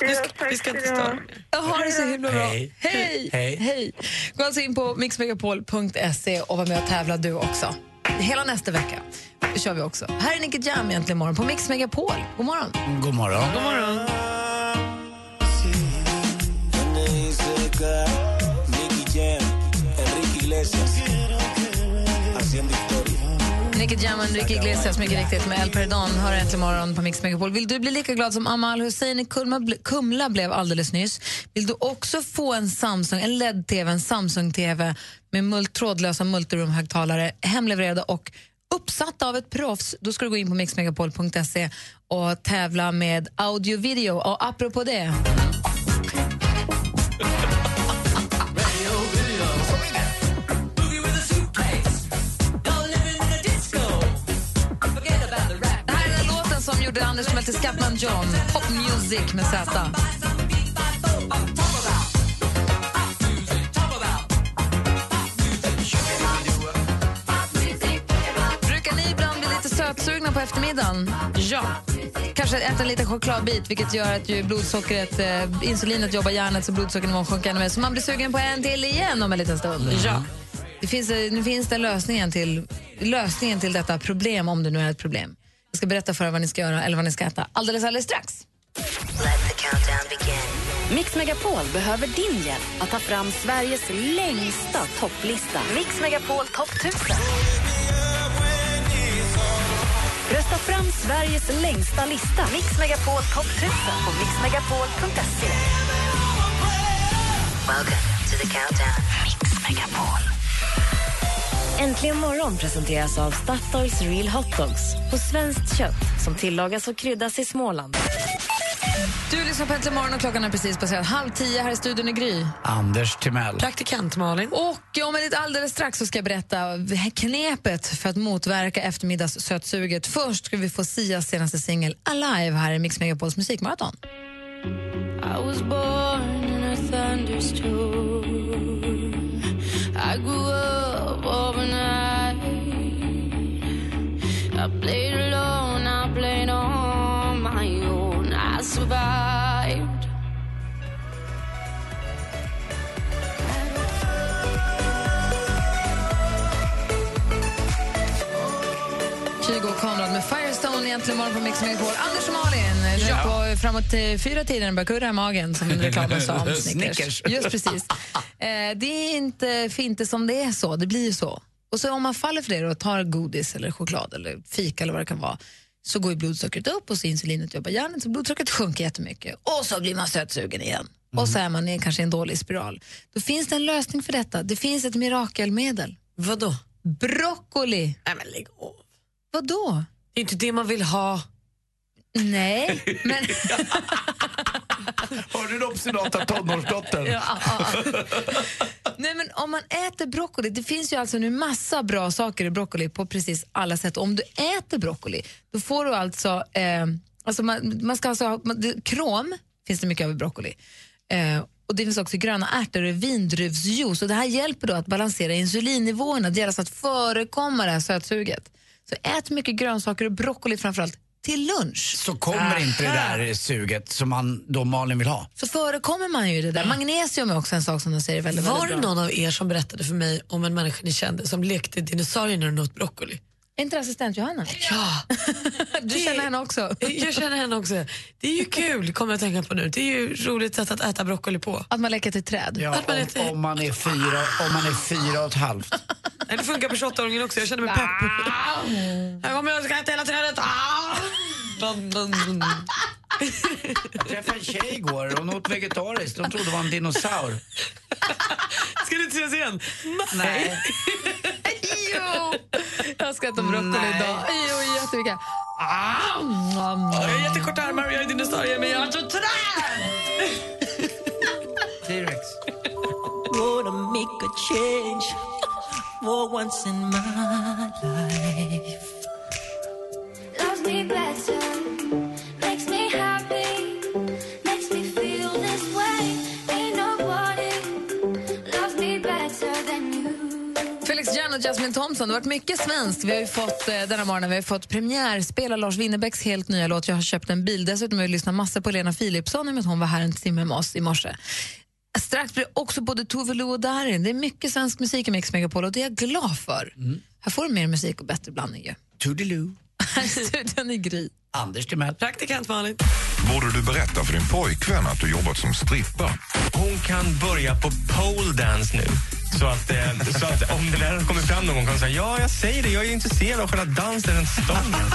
Speaker 6: Vi ska, vi ska inte störa.
Speaker 5: Jag har det så himla bra.
Speaker 6: Hej.
Speaker 5: Hej!
Speaker 6: Hej.
Speaker 5: Hej. Gå alltså in på mixmegapol.se och var med och tävla du också. Hela nästa vecka Det kör vi också. Här är Nicky Jam egentligen imorgon på Mix Megapol. God morgon!
Speaker 7: God morgon.
Speaker 5: God morgon! Nicky Jam och Enrique Iglesias, mycket riktigt, med El Perdon har äntligen morgon på Mix Megapol. Vill du bli lika glad som Amal Hussein i Kumla, ble- Kumla blev alldeles nyss? Vill du också få en Samsung, en LED-TV, en Samsung-TV med mult- trådlösa multiroom-högtalare, hemlevererade och uppsatta av ett proffs, då ska du gå in på mixmegapol.se och tävla med audio video. Och apropå det... Det här är den låten som gjorde Anders Melter Scatman John, Pop Music med Z. Brukar ni ibland bli lite sötsugna på eftermiddagen? Ja. Kanske äta en liten chokladbit, vilket gör att ju blodsockret, eh, insulinet jobbar hjärnet så blodsockernivån sjunker ännu mer. Så man blir sugen på en till igen om en liten stund. Ja. Det finns, eh, nu finns det lösningen till, lösningen till detta problem, om det nu är ett problem. Jag ska berätta för er vad ni ska göra eller vad ni ska äta alldeles, alldeles strax.
Speaker 1: Mix Megapol behöver din hjälp att ta fram Sveriges längsta topplista. Mix Megapol topp 1000. Rösta fram Sveriges längsta lista. Mix Megapol topp 1000 på mixmegapol.se.
Speaker 9: Welcome to the countdown. Mix Megapol.
Speaker 1: Äntligen morgon presenteras av Statoils Real Hot Dogs på svenskt kött som tillagas och kryddas i Småland.
Speaker 5: Du lyssnar på Äntligen morgon och klockan är precis passerat halv tio. Här i studion i Gry.
Speaker 7: Anders Timell.
Speaker 5: Praktikant Malin. Och om en lite alldeles strax så ska jag berätta knepet för att motverka eftermiddagssötsuget. Först ska vi få Sias senaste singel Alive här i Mix Megapols musikmaraton.
Speaker 9: I was born in a thunderstorm. I grew up overnight. I played alone, I played on my own. I survived.
Speaker 5: Kygo och Konrad med Firestone egentligen morgon på Mix Megapol. Anders och Malin,
Speaker 7: Ja.
Speaker 5: ja. på framåt till fyra tiden börjar kurra i magen som reklamen sa om Snickers.
Speaker 7: Snickers.
Speaker 5: Just precis. Eh, det är inte fint som det är så, det blir ju så. Och så om man faller för det och tar godis eller choklad eller fika eller vad det kan vara så går ju blodsockret upp och så insulinet jobbar hjärnan så blodsockret sjunker jättemycket och så blir man sötsugen igen. Och så är man i, kanske i en dålig spiral. Då finns det en lösning för detta. Det finns ett mirakelmedel.
Speaker 6: Vadå?
Speaker 5: Broccoli.
Speaker 6: Nej, men lägg av.
Speaker 5: Vadå?
Speaker 6: Det är inte det man vill ha.
Speaker 5: Nej, men...
Speaker 7: Har du en obstinata tonårsdotter?
Speaker 5: Ja, ja, Nej, men om man äter broccoli, det finns ju alltså nu massa bra saker i broccoli på precis alla sätt. Om du äter broccoli, då får du alltså, eh, alltså man, man ska alltså ha, man, det, krom finns det mycket av i broccoli. Eh, och det finns också gröna ärtor och vindruvsjuice och det här hjälper då att balansera insulinnivåerna. Det gäller alltså att förekomma det här sötsuget. Så ät mycket grönsaker och broccoli framförallt till lunch.
Speaker 7: Så Kommer inte det
Speaker 5: Äh.
Speaker 7: där suget som man då Malin vill ha?
Speaker 5: så förekommer man ju det där. Magnesium är också en sak som de säger är väldigt,
Speaker 6: Var det
Speaker 5: väldigt bra.
Speaker 6: någon av er som berättade för mig om en människa ni kände som lekte dinosaurier när hon åt broccoli?
Speaker 5: Är inte det assistent Johanna? Ja! du känner henne också?
Speaker 6: Jag känner henne också. Det är ju kul, kommer jag att tänka på nu. Det är ju roligt sätt att äta broccoli på.
Speaker 5: Att man leker till träd?
Speaker 7: Ja, om, om, man är fyra, om man är fyra och ett halvt.
Speaker 6: Nej, det funkar på 28-åringen också. Jag känner mig pepp. Här kommer jag och ska äta hela trädet. Ah! Dun, dun, dun.
Speaker 7: Jag träffade en tjej igår, hon åt vegetariskt. Hon trodde det var en dinosaur.
Speaker 6: Ska ni inte ses igen?
Speaker 7: Nej.
Speaker 5: jo! Jag ska äta broccoli idag. Jo, jättemycket. Jag
Speaker 6: har jättekorta armar och jag är dinosaurie men jag har så träd!
Speaker 7: T-rex.
Speaker 9: Gonna make a change for once in my life. Loves me better, makes me happy, makes me feel this way. Ain't nobody loves me better than you.
Speaker 5: Felix Jan och Jasmine Thompson, det har varit mycket svenskt. Vi har ju fått, eh, den här morgonen vi har fått premiärspel av Lars Winnerbäcks helt nya låt Jag har köpt en bil. Dessutom har vi lyssnat massor på Lena Philipsson i och med att hon var här en timme med oss i morse. Strax blir det också både Tove Lo och Darin. Det är mycket svensk musik i Mix Megapol och det är jag glad för.
Speaker 7: Mm.
Speaker 5: Här får du mer musik och bättre blandning ju.
Speaker 7: Toodiloo.
Speaker 5: Här i studion i Gry.
Speaker 7: Anders Timell.
Speaker 6: Praktikant Malin.
Speaker 13: Borde du berätta för din pojkvän att du jobbat som strippa?
Speaker 27: Hon kan börja på pole dance nu. Så att, eh, så att om det där kommer fram någon gång kan hon säga ja, jag säger det, jag är intresserad av själva dansen, den stången.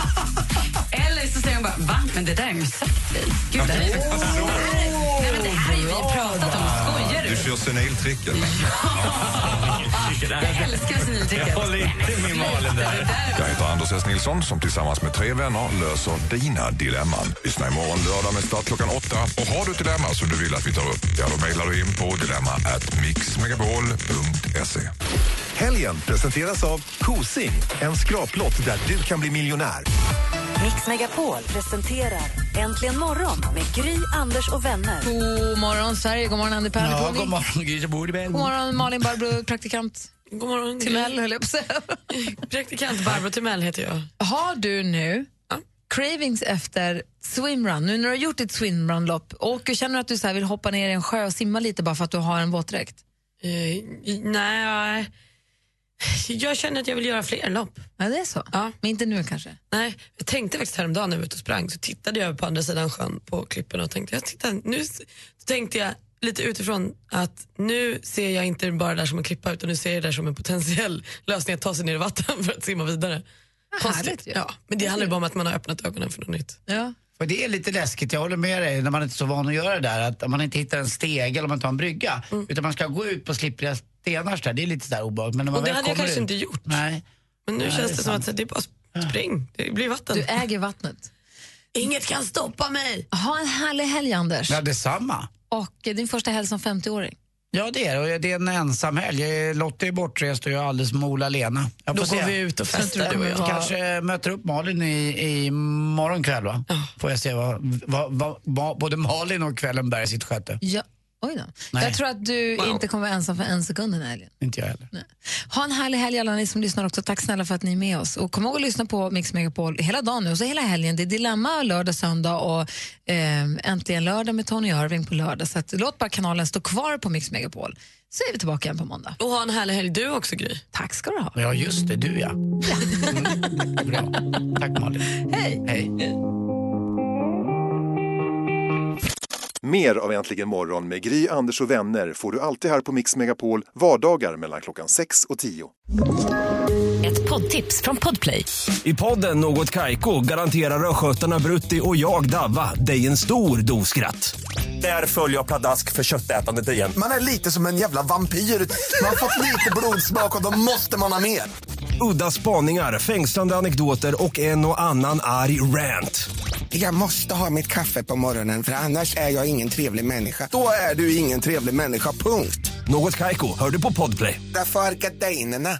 Speaker 3: Eller så säger hon bara, va? Men det där har jag ju sagt dig. Gud, det här är... Nej, men det här har ju vi pratat om. Skojar
Speaker 13: Du
Speaker 3: du?
Speaker 13: kör seniltricket.
Speaker 3: Jag älskar seniltricket.
Speaker 13: Jag håller inte med Malin där. Jag heter Anders S. Nilsson som tillsammans med tre vänner löser dina dilemman. Lyssna imorgon lördag med start klockan åtta. Och har du ett dilemma som du vill att vi tar upp, ja då mejlar du in på dilemma at mixmegapol.se.
Speaker 11: Helgen presenteras av Kosing, en skraplott där du kan bli miljonär.
Speaker 1: Mix Megapol presenterar Äntligen morgon med Gry, Anders och vänner.
Speaker 5: God morgon Sverige, god morgon Andy Pärlekovic.
Speaker 7: Ja, god morgon Gry Bordeberg.
Speaker 5: God morgon Malin Barbro, praktikant
Speaker 6: God morgon,
Speaker 5: Timell höll jag på att säga.
Speaker 6: Praktikant Barbro Timell heter jag. Eh,
Speaker 5: Har du nu cravings efter swimrun? Nu när du har gjort ditt swimrunlopp och känner du att du så här vill hoppa ner i en sjö och simma lite bara för att du har en våtdräkt?
Speaker 6: Eh, nej, jag känner att jag vill göra fler lopp.
Speaker 5: Ja, det är så?
Speaker 6: Ja.
Speaker 5: Men inte nu kanske?
Speaker 6: Nej, jag tänkte faktiskt häromdagen när jag var ute och sprang så tittade jag över på andra sidan sjön på klipporna och tänkte, jag tittar, nu s- så tänkte jag lite utifrån att nu ser jag inte bara det där som en klippa utan nu ser jag det där som en potentiell lösning att ta sig ner i vatten för att simma vidare. Konstigt. Ja, men det handlar ju bara om att man har öppnat ögonen för något nytt.
Speaker 5: Ja.
Speaker 7: För det är lite läskigt, jag håller med dig, när man inte är så van att göra det där. Att om man inte hittar en stege eller om man tar en brygga.
Speaker 6: Mm.
Speaker 7: Utan man ska gå ut på slippriga stenar så där. Det är lite sådär obehagligt. Men när man
Speaker 6: Och det
Speaker 7: väl
Speaker 6: hade jag
Speaker 7: kommer
Speaker 6: kanske
Speaker 7: ut-
Speaker 6: inte gjort.
Speaker 7: Nej.
Speaker 6: Men nu
Speaker 7: Nej, det
Speaker 6: känns det,
Speaker 7: är
Speaker 6: som
Speaker 7: sant.
Speaker 6: att det är bara spring, det blir vatten.
Speaker 5: Du äger Ah. vattnet.
Speaker 6: Inget kan stoppa mig.
Speaker 5: Ha en härlig helg, Anders.
Speaker 7: Ja, detsamma.
Speaker 5: Och eh, din första helg som 50-åring.
Speaker 7: Ja, det är det. Och Det är en ensam helg. Lotta är bortrest och jag är alldeles med Ola-Lena. Jag
Speaker 6: Då
Speaker 7: får
Speaker 6: går
Speaker 7: se.
Speaker 6: vi ut och festar,
Speaker 7: Jag
Speaker 6: du och jag.
Speaker 7: Kanske möter upp Malin i, i morgon kväll, va? Får jag se vad, vad, vad, vad både Malin och kvällen bär i sitt sköte.
Speaker 5: Ja. Oj då.
Speaker 7: Nej.
Speaker 5: Jag tror att du
Speaker 7: Wow.
Speaker 5: inte kommer vara ensam för en sekund den här helgen.
Speaker 7: Inte jag heller.
Speaker 5: Ha en härlig helg alla ni som lyssnar också. Tack snälla för att ni är med oss. Och kom ihåg att lyssna på Mix Megapol hela dagen nu och så hela helgen. Det är Dilemma lördag, söndag och eh, Äntligen lördag med Tony Irving på lördag. Så att, låt bara kanalen stå kvar på Mix Megapol. Så är vi tillbaka igen på måndag.
Speaker 6: Och ha en härlig helg du också, Gry.
Speaker 5: Tack ska du ha.
Speaker 7: Ja, just det. Du, ja. Mm. Bra. Tack, Malin.
Speaker 5: Hej.
Speaker 7: Hej.
Speaker 13: Mer av Äntligen morgon med Gry, Anders och vänner får du alltid här på Mix Megapol vardagar mellan klockan 6 och 10.
Speaker 1: Ett poddtips från Podplay.
Speaker 9: I podden Något Kaiko garanterar östgötarna Brutti och jag, Davva, dig en stor dos skratt. Där följer jag pladask för köttätandet igen.
Speaker 28: Man är lite som en jävla vampyr. Man har fått lite blodsmak och då måste man ha mer.
Speaker 9: Udda spaningar, fängslande anekdoter och en och annan arg rant.
Speaker 29: Jag måste ha mitt kaffe på morgonen för annars är jag ingen trevlig människa. Då är du ingen trevlig människa, punkt.
Speaker 9: Något Kaiko, hör du på podplay.
Speaker 29: Därför arkadeinerna.